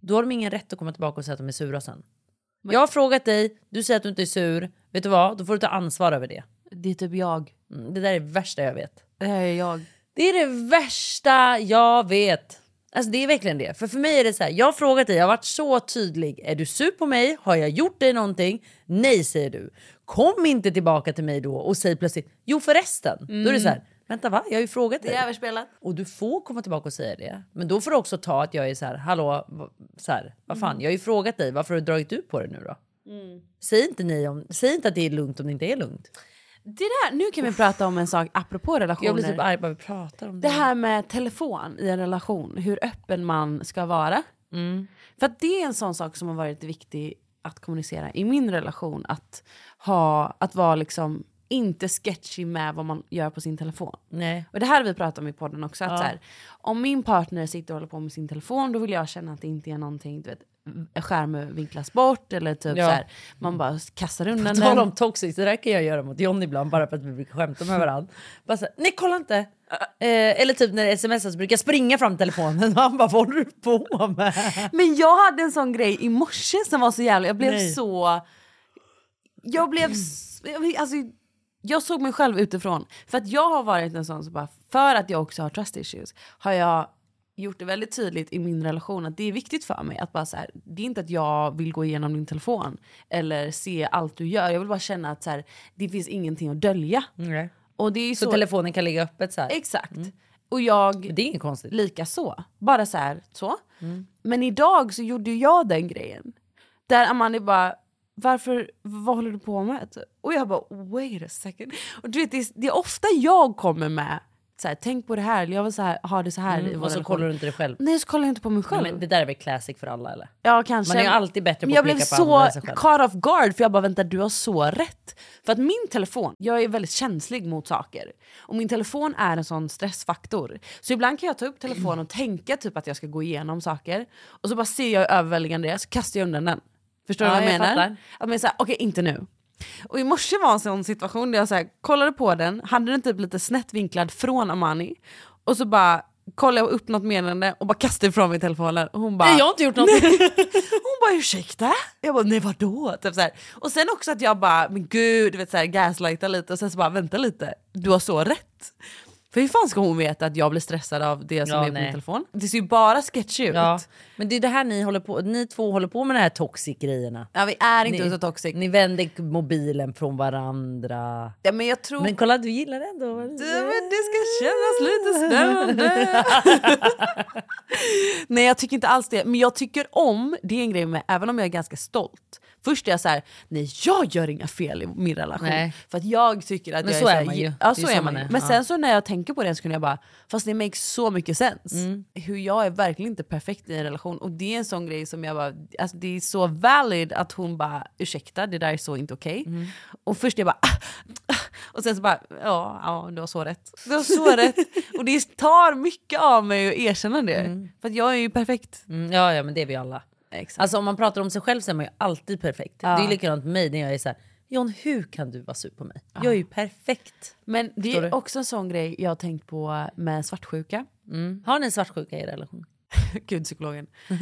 [SPEAKER 3] då har de ingen rätt att komma tillbaka och säga att de är sura sen. Jag har frågat dig, du säger att du inte är sur. Vet du vad? Då får du ta ansvar över det.
[SPEAKER 2] Det är typ jag.
[SPEAKER 3] Mm, det där är det värsta jag vet.
[SPEAKER 2] Det här är jag.
[SPEAKER 3] Det är det värsta jag vet. Alltså det är verkligen det. För för mig är det så här, jag har frågat dig, jag har varit så tydlig. Är du sur på mig? Har jag gjort dig någonting? Nej säger du. Kom inte tillbaka till mig då och säg plötsligt, jo förresten. Då är
[SPEAKER 2] Mm.
[SPEAKER 3] det så här, vänta va? Jag har ju frågat dig.
[SPEAKER 2] Det är överspelat.
[SPEAKER 3] Och du får komma tillbaka och säga det. Men då får du också ta att jag är så här, hallå, va- så här, vad
[SPEAKER 2] Mm.
[SPEAKER 3] fan, jag har ju frågat dig, varför har du dragit ut på det nu då? Säg inte, ni om, säg inte att det är lugnt om det inte är lugnt.
[SPEAKER 2] Det där, nu kan vi prata om en sak apropå relationer.
[SPEAKER 3] Jag blir typ arg bara vi pratar om det.
[SPEAKER 2] Det här med telefon i en relation, hur öppen man ska vara.
[SPEAKER 3] Mm.
[SPEAKER 2] För att det är en sån sak som har varit viktig att kommunicera i min relation. Att, ha, att vara liksom inte sketchy med vad man gör på sin telefon.
[SPEAKER 3] Nej.
[SPEAKER 2] Och det här har vi pratat om i podden också. Att
[SPEAKER 3] Ja.
[SPEAKER 2] så här, om min partner sitter och håller på med sin telefon då vill jag känna att det inte är någonting, du vet, skärmen vinklas bort eller typ
[SPEAKER 3] Ja.
[SPEAKER 2] så här, man bara kastar undan
[SPEAKER 3] På tal
[SPEAKER 2] den.
[SPEAKER 3] om toxic, det där kan jag göra mot John ibland bara för att vi brukar skämta med varandra. Bara så, här, nej kolla inte! Eh, eller typ när det smsas brukar jag springa fram till telefonen och han bara vad håller du på med?
[SPEAKER 2] Men jag hade en sån grej i morse som var så jävla... Jag blev
[SPEAKER 3] Nej.
[SPEAKER 2] så... Jag blev... s- jag vet- Alltså, jag såg mig själv utifrån. För att jag har varit en sån som bara... För att jag också har trust issues har jag gjort det väldigt tydligt i min relation att det är viktigt för mig att bara så här, det är inte att jag vill gå igenom din telefon eller se allt du gör. Jag vill bara känna att så här, det finns ingenting att dölja. Och det är ju
[SPEAKER 3] Så
[SPEAKER 2] så,
[SPEAKER 3] telefonen kan ligga öppet så här.
[SPEAKER 2] Exakt. Och jag...
[SPEAKER 3] Det är inget konstigt.
[SPEAKER 2] Lika så. Bara så här, så. Men idag så gjorde ju jag den grejen. Där Amanda bara, varför, vad håller du på med? Typ. Och jag bara, wait a second. Och du vet, det, är, det är ofta jag kommer med, så här, tänk på det här, eller jag vill så här, ha det så här i
[SPEAKER 3] Mm,
[SPEAKER 2] vår
[SPEAKER 3] och så
[SPEAKER 2] relation.
[SPEAKER 3] kollar du inte dig själv.
[SPEAKER 2] Nej, så kollar jag inte på mig själv.
[SPEAKER 3] Men det där är väl classic för alla eller?
[SPEAKER 2] Ja kanske.
[SPEAKER 3] Man är ju alltid bättre
[SPEAKER 2] Men
[SPEAKER 3] på
[SPEAKER 2] jag
[SPEAKER 3] att
[SPEAKER 2] blev
[SPEAKER 3] peka på andra än
[SPEAKER 2] så
[SPEAKER 3] sig själv.
[SPEAKER 2] caught off guard för jag bara vänta du har så rätt. För att min telefon, jag är väldigt känslig mot saker. Och min telefon är en sån stressfaktor. Så ibland kan jag ta upp telefonen och tänka typ att jag ska gå igenom saker. Och så bara ser jag hur överväldigande det är så kastar jag undan den. Förstår du
[SPEAKER 3] Ja,
[SPEAKER 2] vad jag,
[SPEAKER 3] jag
[SPEAKER 2] menar?
[SPEAKER 3] fattar.
[SPEAKER 2] Att man är såhär, okej inte nu. Och i morse var en sån situation där jag så här, kollade på den, hade den typ lite snett vinklad från Amani. Och så bara kollade jag upp något meddelande och bara kastade ifrån mig telefonen. Och hon bara,
[SPEAKER 3] Nej, jag har inte gjort något.
[SPEAKER 2] hon bara ursäkta? Jag bara nej vadå? Typ så här. Och sen också att jag bara men gud, du vet så här, gaslighta lite och sen så bara vänta lite, du har så rätt. För hur fan ska hon veta att jag blir stressad av det som
[SPEAKER 3] Ja,
[SPEAKER 2] är på min
[SPEAKER 3] nej.
[SPEAKER 2] telefon? Det ser ju bara sketchy ut.
[SPEAKER 3] Ja. Men det är det här ni håller på, ni två håller på med de här toxic grejerna.
[SPEAKER 2] Ja, vi är inte
[SPEAKER 3] ni,
[SPEAKER 2] så toxic.
[SPEAKER 3] Ni vänder mobilen från varandra.
[SPEAKER 2] Ja, men jag tror...
[SPEAKER 3] Men kolla du gillar det ändå. vad
[SPEAKER 2] Du, men det ska kännas lite spännande. Nej jag tycker inte alls det, men jag tycker om, det är en grej med, även om jag är ganska stolt. Först är jag så här, nej jag gör inga fel i min relation.
[SPEAKER 3] Nej.
[SPEAKER 2] För att jag tycker att
[SPEAKER 3] Men
[SPEAKER 2] jag
[SPEAKER 3] så
[SPEAKER 2] är,
[SPEAKER 3] är
[SPEAKER 2] här-
[SPEAKER 3] man ju. Det
[SPEAKER 2] Ja
[SPEAKER 3] är
[SPEAKER 2] så
[SPEAKER 3] så
[SPEAKER 2] är
[SPEAKER 3] man
[SPEAKER 2] man ju.
[SPEAKER 3] är,
[SPEAKER 2] Men
[SPEAKER 3] ja.
[SPEAKER 2] sen så när jag tänker på det så kunde jag bara, fast det makes så mycket sens.
[SPEAKER 3] Mm.
[SPEAKER 2] Hur jag är verkligen inte perfekt i en relation. Och det är en sån grej som jag bara, alltså det är så valid att hon bara, ursäkta det där är så inte okej.
[SPEAKER 3] Mm.
[SPEAKER 2] Och först är jag bara, ah, ah, och sen så bara, ja, ja du har så rätt. Du har så rätt. Och det tar mycket av mig att erkänna det. För att jag är ju perfekt.
[SPEAKER 3] Mm, ja, ja, men det är vi alla. Alltså om man pratar om sig själv så är man ju alltid perfekt.
[SPEAKER 2] Ja.
[SPEAKER 3] Det är ju likadant med mig när jag är så här, John hur kan du vara sur på mig? Jag är ju perfekt.
[SPEAKER 2] Men det
[SPEAKER 3] Förstår
[SPEAKER 2] är
[SPEAKER 3] du?
[SPEAKER 2] också en sån grej jag har tänkt på med svartsjuka.
[SPEAKER 3] Mm. Har ni svartsjuka i er relation?
[SPEAKER 2] Gud, psykologen. Eh,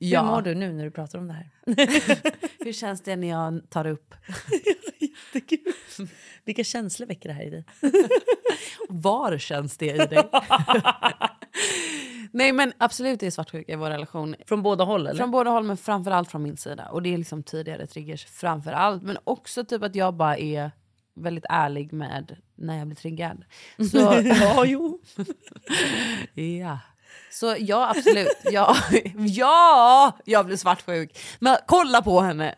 [SPEAKER 3] Hur mår du nu när du pratar om det här?
[SPEAKER 2] Hur känns det när jag tar upp?
[SPEAKER 3] Vilka känslor väcker det här i dig?
[SPEAKER 2] Var känns det i dig? Nej men absolut det är svartsjuka i vår relation.
[SPEAKER 3] Från båda håll eller?
[SPEAKER 2] Från båda håll men framförallt från min sida. Och det är liksom tidigare triggers framförallt. Men också typ att jag bara är väldigt ärlig med när jag blir triggad. Så,
[SPEAKER 3] ja, jo.
[SPEAKER 2] ja. Så ja, absolut. Ja, ja, jag blir svartsjuk. Men kolla på henne.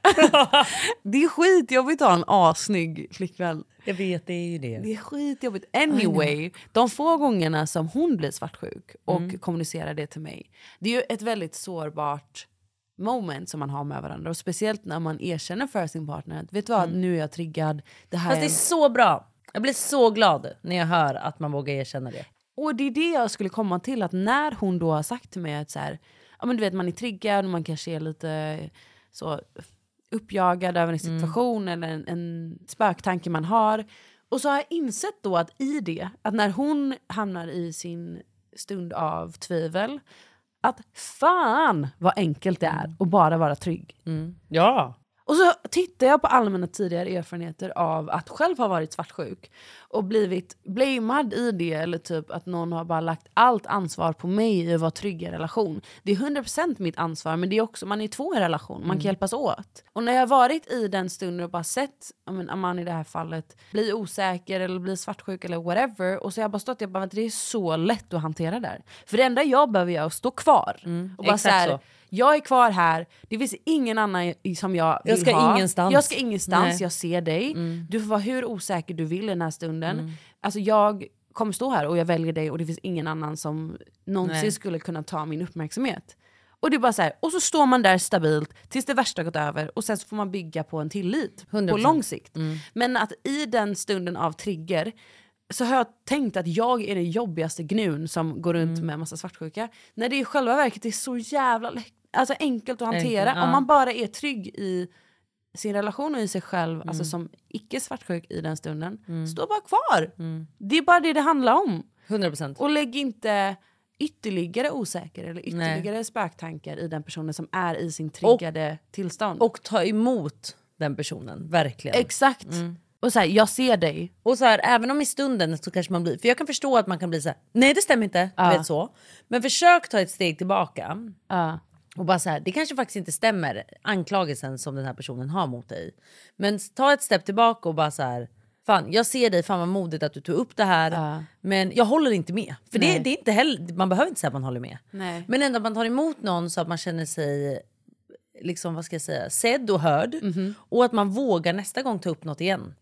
[SPEAKER 2] det är skitjobbigt att ha en assnygg flickvän.
[SPEAKER 3] Jag vet, det är ju det.
[SPEAKER 2] Det är skitjobbigt. Anyway, de få gångerna som hon blir svartsjuk och
[SPEAKER 3] Mm.
[SPEAKER 2] kommunicerar det till mig. Det är ju ett väldigt sårbart moment som man har med varandra. Och speciellt när man erkänner för sin partner att vet du vad, nu är jag triggad. Det här
[SPEAKER 3] Mm. Fast det är så bra. Jag blir så glad när jag hör att man vågar erkänna det.
[SPEAKER 2] Och det är det jag skulle komma till, att när hon då har sagt till mig att så här, ja, men du vet, man är triggad och man kanske är lite så uppjagad över en situation eller en, en spöktanke man har. Och så har jag insett då att i det, att när hon hamnar i sin stund av tvivel, att fan vad enkelt det är att bara vara trygg.
[SPEAKER 3] Ja.
[SPEAKER 2] Och så tittar jag på allmänna tidigare erfarenheter av att själv ha varit svartsjuk och blivit blamad i det eller typ att någon har bara lagt allt ansvar på mig i att vara trygg i en relation. Det är 100% mitt ansvar men det är också, man är två i en relation, man kan
[SPEAKER 3] Mm.
[SPEAKER 2] hjälpas åt. Och när jag har varit i den stunden och bara sett ja, men Aman i det här fallet bli osäker eller bli svartsjuk eller whatever och så har jag bara stått där och bara vänta, det är så lätt att hantera där. För det enda jag behöver göra är att stå kvar. Och bara så
[SPEAKER 3] Mm, exakt
[SPEAKER 2] här,
[SPEAKER 3] så.
[SPEAKER 2] jag är kvar här, det finns ingen annan i- som jag vill
[SPEAKER 3] Jag ska
[SPEAKER 2] ha.
[SPEAKER 3] ingenstans.
[SPEAKER 2] Jag ska ingenstans,
[SPEAKER 3] Nej. Mm.
[SPEAKER 2] jag ser dig. Du får vara hur osäker du vill i den här stunden. Alltså jag kommer stå här och jag väljer dig och det finns ingen annan som någonsin
[SPEAKER 3] Nej.
[SPEAKER 2] skulle kunna ta min uppmärksamhet. Och det är bara så här, och så står man där stabilt tills det värsta gått över och sen så får man bygga på en tillit på
[SPEAKER 3] 100%.
[SPEAKER 2] lång sikt.
[SPEAKER 3] Mm.
[SPEAKER 2] Men att i den stunden av trigger så har jag tänkt att jag är den jobbigaste gnun som går runt
[SPEAKER 3] Mm.
[SPEAKER 2] med massa svartsjuka. När det i själva verket är så jävla lätt- alltså enkelt att hantera.
[SPEAKER 3] Enkelt, ja.
[SPEAKER 2] Om man bara är trygg i sin relation och i sig själv,
[SPEAKER 3] Mm.
[SPEAKER 2] alltså som icke svartsjuk i den stunden, stå bara kvar.
[SPEAKER 3] Mm.
[SPEAKER 2] Det är bara det det handlar om.
[SPEAKER 3] 100%.
[SPEAKER 2] Och lägg inte ytterligare osäker eller ytterligare spöktankar i den personen som är i sin triggade tillstånd.
[SPEAKER 3] Och ta emot den personen, verkligen.
[SPEAKER 2] Exakt.
[SPEAKER 3] Mm.
[SPEAKER 2] Och så här, jag ser dig.
[SPEAKER 3] Och så här, även om i stunden så kanske man blir, för jag kan förstå att man kan bli så här, nej det stämmer inte,
[SPEAKER 2] Ja.
[SPEAKER 3] du vet så. Men försök ta ett steg tillbaka.
[SPEAKER 2] Ja.
[SPEAKER 3] Och bara så här, det kanske faktiskt inte stämmer, anklagelsen som den här personen har mot dig. Men ta ett steg tillbaka och bara så här, fan jag ser dig, fan vad modigt att du tog upp det här. Men jag håller inte med. För det,
[SPEAKER 2] Nej.
[SPEAKER 3] det är inte heller, man behöver inte säga att man håller med.
[SPEAKER 2] Nej.
[SPEAKER 3] Men ändå att man tar emot någon så att man känner sig liksom, vad ska jag säga, sedd och hörd.
[SPEAKER 2] Mhm.
[SPEAKER 3] Och att man vågar nästa gång ta upp något igen.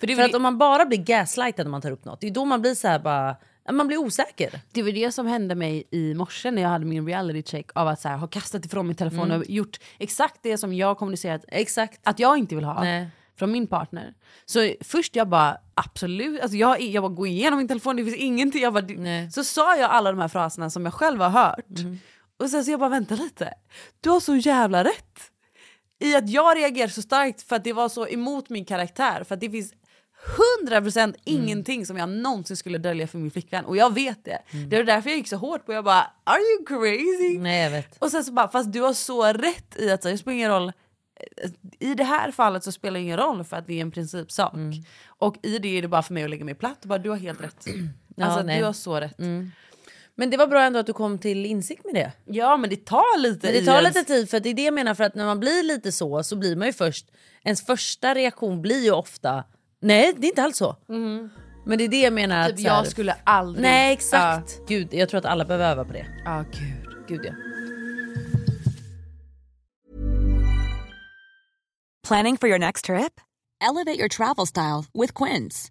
[SPEAKER 3] För,
[SPEAKER 2] det är väl
[SPEAKER 3] att
[SPEAKER 2] det-
[SPEAKER 3] om man bara blir gaslightad när man tar upp något, det är då man blir så här bara, man blir osäker.
[SPEAKER 2] Det var det som hände mig i morse när jag hade min reality check av att så här, ha kastat ifrån min telefon
[SPEAKER 3] Mm.
[SPEAKER 2] och gjort exakt det som jag kommunicerat
[SPEAKER 3] exakt.
[SPEAKER 2] att jag inte vill ha
[SPEAKER 3] Nej.
[SPEAKER 2] från min partner. Så först jag bara absolut, alltså jag, jag bara går igenom min telefon, det finns ingenting. Jag bara, det- så sa jag alla de här fraserna som jag själv har hört. Och sen så jag bara vänta lite, du har så jävla rätt i att jag reagerar så starkt för att det var så emot min karaktär. För att det finns 100% ingenting som jag någonsin skulle dölja för min flickvän och jag vet det. Det var därför jag gick så hårt på jag bara are you crazy?
[SPEAKER 3] Nej jag vet.
[SPEAKER 2] Och sen så bara fast du har så rätt i att så, här, det spelar ingen roll. eh, I det här fallet så spelar det ingen roll för att det är en principsak.
[SPEAKER 3] Mm.
[SPEAKER 2] Och i det är det bara för mig att lägga mig platt och bara du har helt rätt.
[SPEAKER 3] Ja,
[SPEAKER 2] alltså
[SPEAKER 3] nej. Mm.
[SPEAKER 2] du har så rätt.
[SPEAKER 3] Men det var bra ändå att du kom till insikt med det.
[SPEAKER 2] Ja men det tar lite
[SPEAKER 3] Men det
[SPEAKER 2] i
[SPEAKER 3] tar
[SPEAKER 2] ens-
[SPEAKER 3] lite tid för att det är det jag menar för att när man blir lite så så blir man ju först, ens första reaktion blir ju ofta nej det är inte alls så. Men det är det jag menar
[SPEAKER 2] Mm-hmm. Typ,
[SPEAKER 3] att så här-
[SPEAKER 2] jag skulle aldrig-
[SPEAKER 3] Nej exakt. Gud jag tror att alla behöver öva på det.
[SPEAKER 2] Ja gud.
[SPEAKER 3] Ah, Gud ja.
[SPEAKER 11] Planning for your next trip? Elevate your travel style with Quince.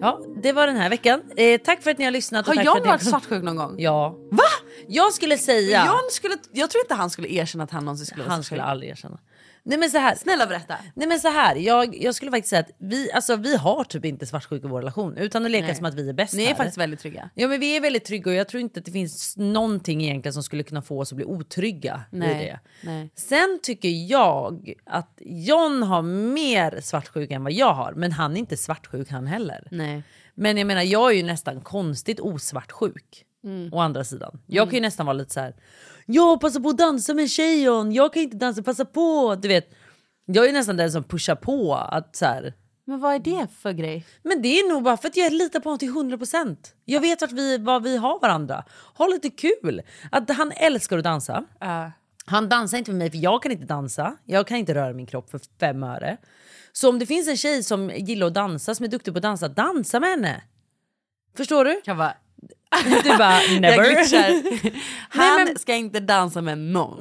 [SPEAKER 3] Ja, det var den här veckan. Eh, tack för att ni har lyssnat. och
[SPEAKER 2] Har
[SPEAKER 3] tack
[SPEAKER 2] John
[SPEAKER 3] för att ni...
[SPEAKER 2] varit svartsjuk någon gång?
[SPEAKER 3] Ja. Va? Jag skulle säga...
[SPEAKER 2] John skulle, jag tror inte han skulle erkänna att han någonsin skulle vara
[SPEAKER 3] Han skulle
[SPEAKER 2] svartsjuk.
[SPEAKER 3] aldrig erkänna. Nej men så här.
[SPEAKER 2] Snälla berätta.
[SPEAKER 3] Nej men så här, jag, jag skulle faktiskt säga att vi, alltså, vi har typ inte svartsjuka i vår relation utan det leker
[SPEAKER 2] Nej.
[SPEAKER 3] som att vi är bäst
[SPEAKER 2] Ni är
[SPEAKER 3] här.
[SPEAKER 2] faktiskt väldigt trygga.
[SPEAKER 3] Ja men vi är väldigt trygga och jag tror inte att det finns någonting egentligen som skulle kunna få oss att bli otrygga i det.
[SPEAKER 2] Nej.
[SPEAKER 3] Sen tycker jag att John har mer svartsjuka än vad jag har, men han är inte svartsjuk han heller.
[SPEAKER 2] Nej.
[SPEAKER 3] Men jag menar, jag är ju nästan konstigt osvartsjuk.
[SPEAKER 2] Mm.
[SPEAKER 3] Å andra sidan. Jag kan ju nästan vara lite så här. Jag passar på att dansa med en tjej John. Jag kan inte dansa, passa på. Du vet, jag är nästan den som pushar på. Att så här,
[SPEAKER 2] Men vad är det för grej?
[SPEAKER 3] men det är nog bara för att jag litar på honom till 100%. Jag vet vart vi, vad vi har varandra. Ha lite kul. Att han älskar att dansa. Han dansar inte med mig för jag kan inte dansa. Jag kan inte röra min kropp för fem öre. Så om det finns en tjej som gillar att dansa, som är duktig på att dansa, dansa med henne. Förstår du?
[SPEAKER 2] Jag bara,
[SPEAKER 3] Du bara
[SPEAKER 2] Jag
[SPEAKER 3] never.
[SPEAKER 2] glitchar. Han
[SPEAKER 3] Nej, men-
[SPEAKER 2] ska inte dansa med någon.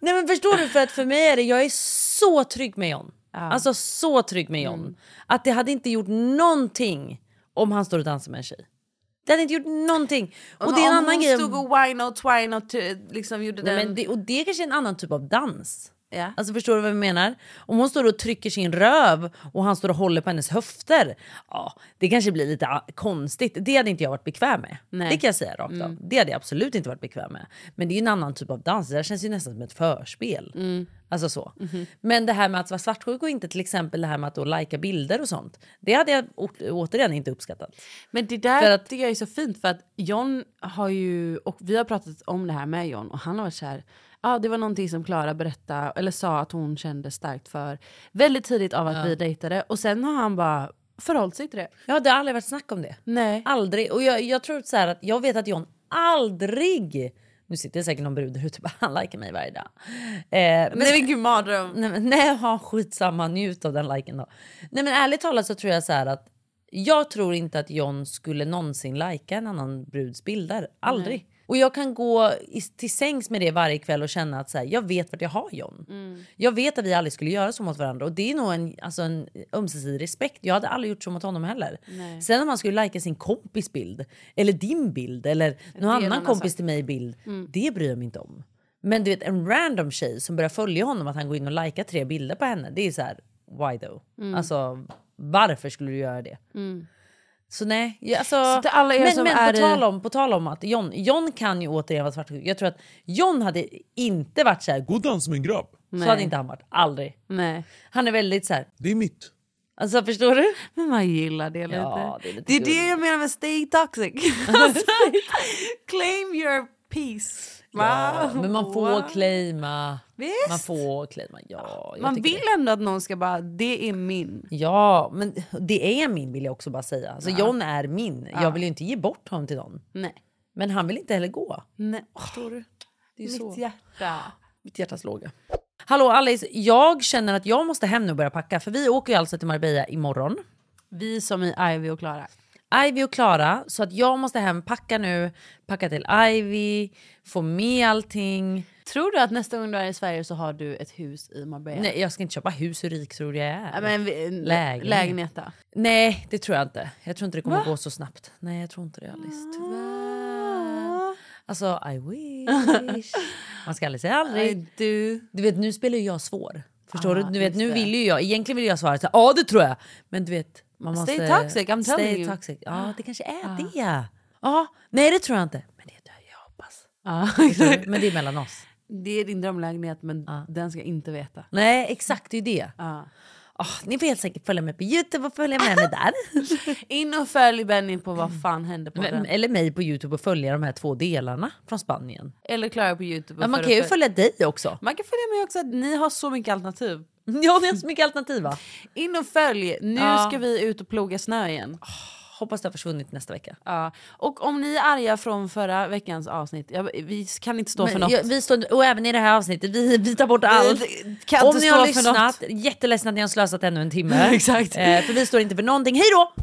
[SPEAKER 3] Nej men förstår du för att för mig är det, jag är så trygg med John. Alltså så trygg med John.
[SPEAKER 2] Mm.
[SPEAKER 3] Att det hade inte gjort någonting om han står och dansar med en tjej. Det hade inte gjort någonting. Och, det är en
[SPEAKER 2] om
[SPEAKER 3] annan
[SPEAKER 2] hon
[SPEAKER 3] grej.
[SPEAKER 2] stod och wine och twine och t- liksom gjorde
[SPEAKER 3] Nej,
[SPEAKER 2] den...
[SPEAKER 3] men det, och det är kanske är en annan typ av dans.
[SPEAKER 2] Ja.
[SPEAKER 3] Alltså förstår du vad jag menar? Om hon står och trycker sin röv och han står och håller på hennes höfter. Ja, det kanske blir lite ah, konstigt. Det hade inte jag varit bekväm med.
[SPEAKER 2] Nej.
[SPEAKER 3] Det kan jag säga rakt
[SPEAKER 2] Mm.
[SPEAKER 3] av. Det hade jag absolut inte varit bekväm med. Men det är ju en annan typ av dans. Det där känns ju nästan som ett förspel.
[SPEAKER 2] Mm.
[SPEAKER 3] Alltså så.
[SPEAKER 2] Mhm.
[SPEAKER 3] Men det här med att vara svartsjuk och inte till exempel det här med att då lajka bilder och sånt. Det hade jag å- återigen inte uppskattat.
[SPEAKER 2] Men det där
[SPEAKER 3] För att-
[SPEAKER 2] tycker jag är så fint för att John har ju, och vi har pratat om det här med John och han har varit så här, ja det var någonting som Klara berättade eller sa att hon kände starkt för väldigt tidigt av att
[SPEAKER 3] Ja.
[SPEAKER 2] vi dejtade och sen har han bara förhållit sig till det.
[SPEAKER 3] Ja, det har aldrig varit snack om det.
[SPEAKER 2] Nej.
[SPEAKER 3] Aldrig. Och jag, jag tror så här att jag vet att John aldrig... Nu sitter det säkert någon brud där ute och bara han likar mig varje dag. Eh, men,
[SPEAKER 2] Nej men gud mardröm.
[SPEAKER 3] nej, men, nej ha, skitsamma, njut av den liken då. Nej men ärligt talat så tror jag så här att jag tror inte att John skulle någonsin lajka en annan bruds bilder. Aldrig.
[SPEAKER 2] Nej.
[SPEAKER 3] Och jag kan gå i, till sängs med det varje kväll och känna att så här, jag vet vart jag har John.
[SPEAKER 2] Mm.
[SPEAKER 3] Jag vet att vi aldrig skulle göra så mot varandra och det är nog en, alltså en ömsesidig respekt. Jag hade aldrig gjort så mot honom heller.
[SPEAKER 2] Nej.
[SPEAKER 3] Sen om man skulle lajka sin kompis bild eller din bild eller någon
[SPEAKER 2] en
[SPEAKER 3] annan
[SPEAKER 2] annan
[SPEAKER 3] kompis
[SPEAKER 2] sak.
[SPEAKER 3] till mig bild.
[SPEAKER 2] Mm.
[SPEAKER 3] Det bryr jag mig inte om. Men du vet en random tjej som börjar följa honom att han går in och likar tre bilder på henne. Det är så här why though?
[SPEAKER 2] Mm.
[SPEAKER 3] Alltså varför skulle du göra det?
[SPEAKER 2] Mm.
[SPEAKER 3] Så nej, jag- alltså,
[SPEAKER 2] Så till alla er
[SPEAKER 3] men,
[SPEAKER 2] som
[SPEAKER 3] men
[SPEAKER 2] är
[SPEAKER 3] på,
[SPEAKER 2] i-
[SPEAKER 3] tal om, på tal om att John, John kan ju återigen vara svartsjuk. Jag tror att John hade inte varit så här god dans med en grabb. Så
[SPEAKER 2] Nej.
[SPEAKER 3] hade inte han varit, aldrig.
[SPEAKER 2] Nej.
[SPEAKER 3] Han är väldigt så här.
[SPEAKER 2] Det är mitt.
[SPEAKER 3] Alltså förstår du?
[SPEAKER 2] Men man gillar det lite.
[SPEAKER 3] Ja, det är lite
[SPEAKER 2] det, är det
[SPEAKER 3] gulligt.
[SPEAKER 2] jag menar med stay toxic. Alltså, Claim your peace.
[SPEAKER 3] Ja,
[SPEAKER 2] Wow.
[SPEAKER 3] men man får
[SPEAKER 2] Wow.
[SPEAKER 3] claima.
[SPEAKER 2] Visst.
[SPEAKER 3] Man får claima, ja. jag
[SPEAKER 2] Man
[SPEAKER 3] tycker
[SPEAKER 2] vill ändå att någon ska bara, det är min.
[SPEAKER 3] det. Ja, men det är min vill jag också bara säga. Alltså
[SPEAKER 2] Ja.
[SPEAKER 3] John är min.
[SPEAKER 2] Ja.
[SPEAKER 3] Jag vill ju inte ge bort honom till någon.
[SPEAKER 2] Nej.
[SPEAKER 3] Men han vill inte heller gå.
[SPEAKER 2] Nej. Förstår du?
[SPEAKER 3] Det är
[SPEAKER 2] Mitt
[SPEAKER 3] så.
[SPEAKER 2] hjärta.
[SPEAKER 3] Mitt hjärtas låga. Hallå Alice, jag känner att jag måste hem nu och börja packa för vi åker ju alltså till Marbella imorgon.
[SPEAKER 2] Vi som i Ivy och Klara.
[SPEAKER 3] Ivy och Klara, så att jag måste hem, packa nu, packa till Ivy, få med allting.
[SPEAKER 2] Tror du att nästa gång du är i Sverige så har du ett hus i Marbella?
[SPEAKER 3] Nej, jag ska inte köpa hus, hur rik tror du jag är?
[SPEAKER 2] Ja, men vi, lägenhet.
[SPEAKER 3] Lägenhet.
[SPEAKER 2] lägenhet då.
[SPEAKER 3] Nej, det tror jag inte. Jag tror inte det kommer
[SPEAKER 2] Va?
[SPEAKER 3] gå så snabbt. Nej, jag tror inte det Alice.
[SPEAKER 2] Ah.
[SPEAKER 3] Tyvärr. Alltså, I wish. Man ska aldrig säga aldrig.
[SPEAKER 2] Du.
[SPEAKER 3] Du vet, nu spelar ju jag svår. Förstår
[SPEAKER 2] Ah,
[SPEAKER 3] du? du vet,
[SPEAKER 2] just
[SPEAKER 3] nu
[SPEAKER 2] det.
[SPEAKER 3] vill ju jag, egentligen vill jag svara så här, ja det tror jag. Men du vet, man måste...
[SPEAKER 2] Stay toxic, I'm telling
[SPEAKER 3] stay
[SPEAKER 2] you. Ah.
[SPEAKER 3] Toxic. Ja, det kanske är det. Ja, nej det tror jag inte. Men det är det jag hoppas.
[SPEAKER 2] Ja,
[SPEAKER 3] Förstår du? Men det är mellan oss.
[SPEAKER 2] det är din drömlägenhet men den ska inte veta.
[SPEAKER 3] Nej, exakt det är ju det.
[SPEAKER 2] Ja.
[SPEAKER 3] Ah, ni får helt säkert följa med på Youtube och följa med mig där.
[SPEAKER 2] In och följ Benny på vad fan hände på
[SPEAKER 3] Men-
[SPEAKER 2] den.
[SPEAKER 3] Eller mig på Youtube och följa de här två delarna från Spanien.
[SPEAKER 2] Eller Klara på Youtube. och
[SPEAKER 3] Men man
[SPEAKER 2] för-
[SPEAKER 3] kan ju
[SPEAKER 2] för-
[SPEAKER 3] följa dig också.
[SPEAKER 2] Man kan följa mig också, ni har så mycket alternativ.
[SPEAKER 3] Ja, ni har så mycket alternativ va?
[SPEAKER 2] In och följ, nu
[SPEAKER 3] Ja.
[SPEAKER 2] ska vi ut och ploga snö igen.
[SPEAKER 3] Hoppas det har försvunnit nästa vecka.
[SPEAKER 2] Ja. Och om ni är arga från förra veckans avsnitt, jag, vi kan inte stå för
[SPEAKER 3] Men
[SPEAKER 2] något.
[SPEAKER 3] jag- vi står, och även i det här avsnittet, vi, vi tar bort allt.
[SPEAKER 2] kan
[SPEAKER 3] Om
[SPEAKER 2] inte
[SPEAKER 3] ni
[SPEAKER 2] stå
[SPEAKER 3] har
[SPEAKER 2] för något.
[SPEAKER 3] lyssnat, jätteledsen att ni har slösat ännu en timme.
[SPEAKER 2] Exakt.
[SPEAKER 3] Eh, för vi står inte för någonting. Hej då!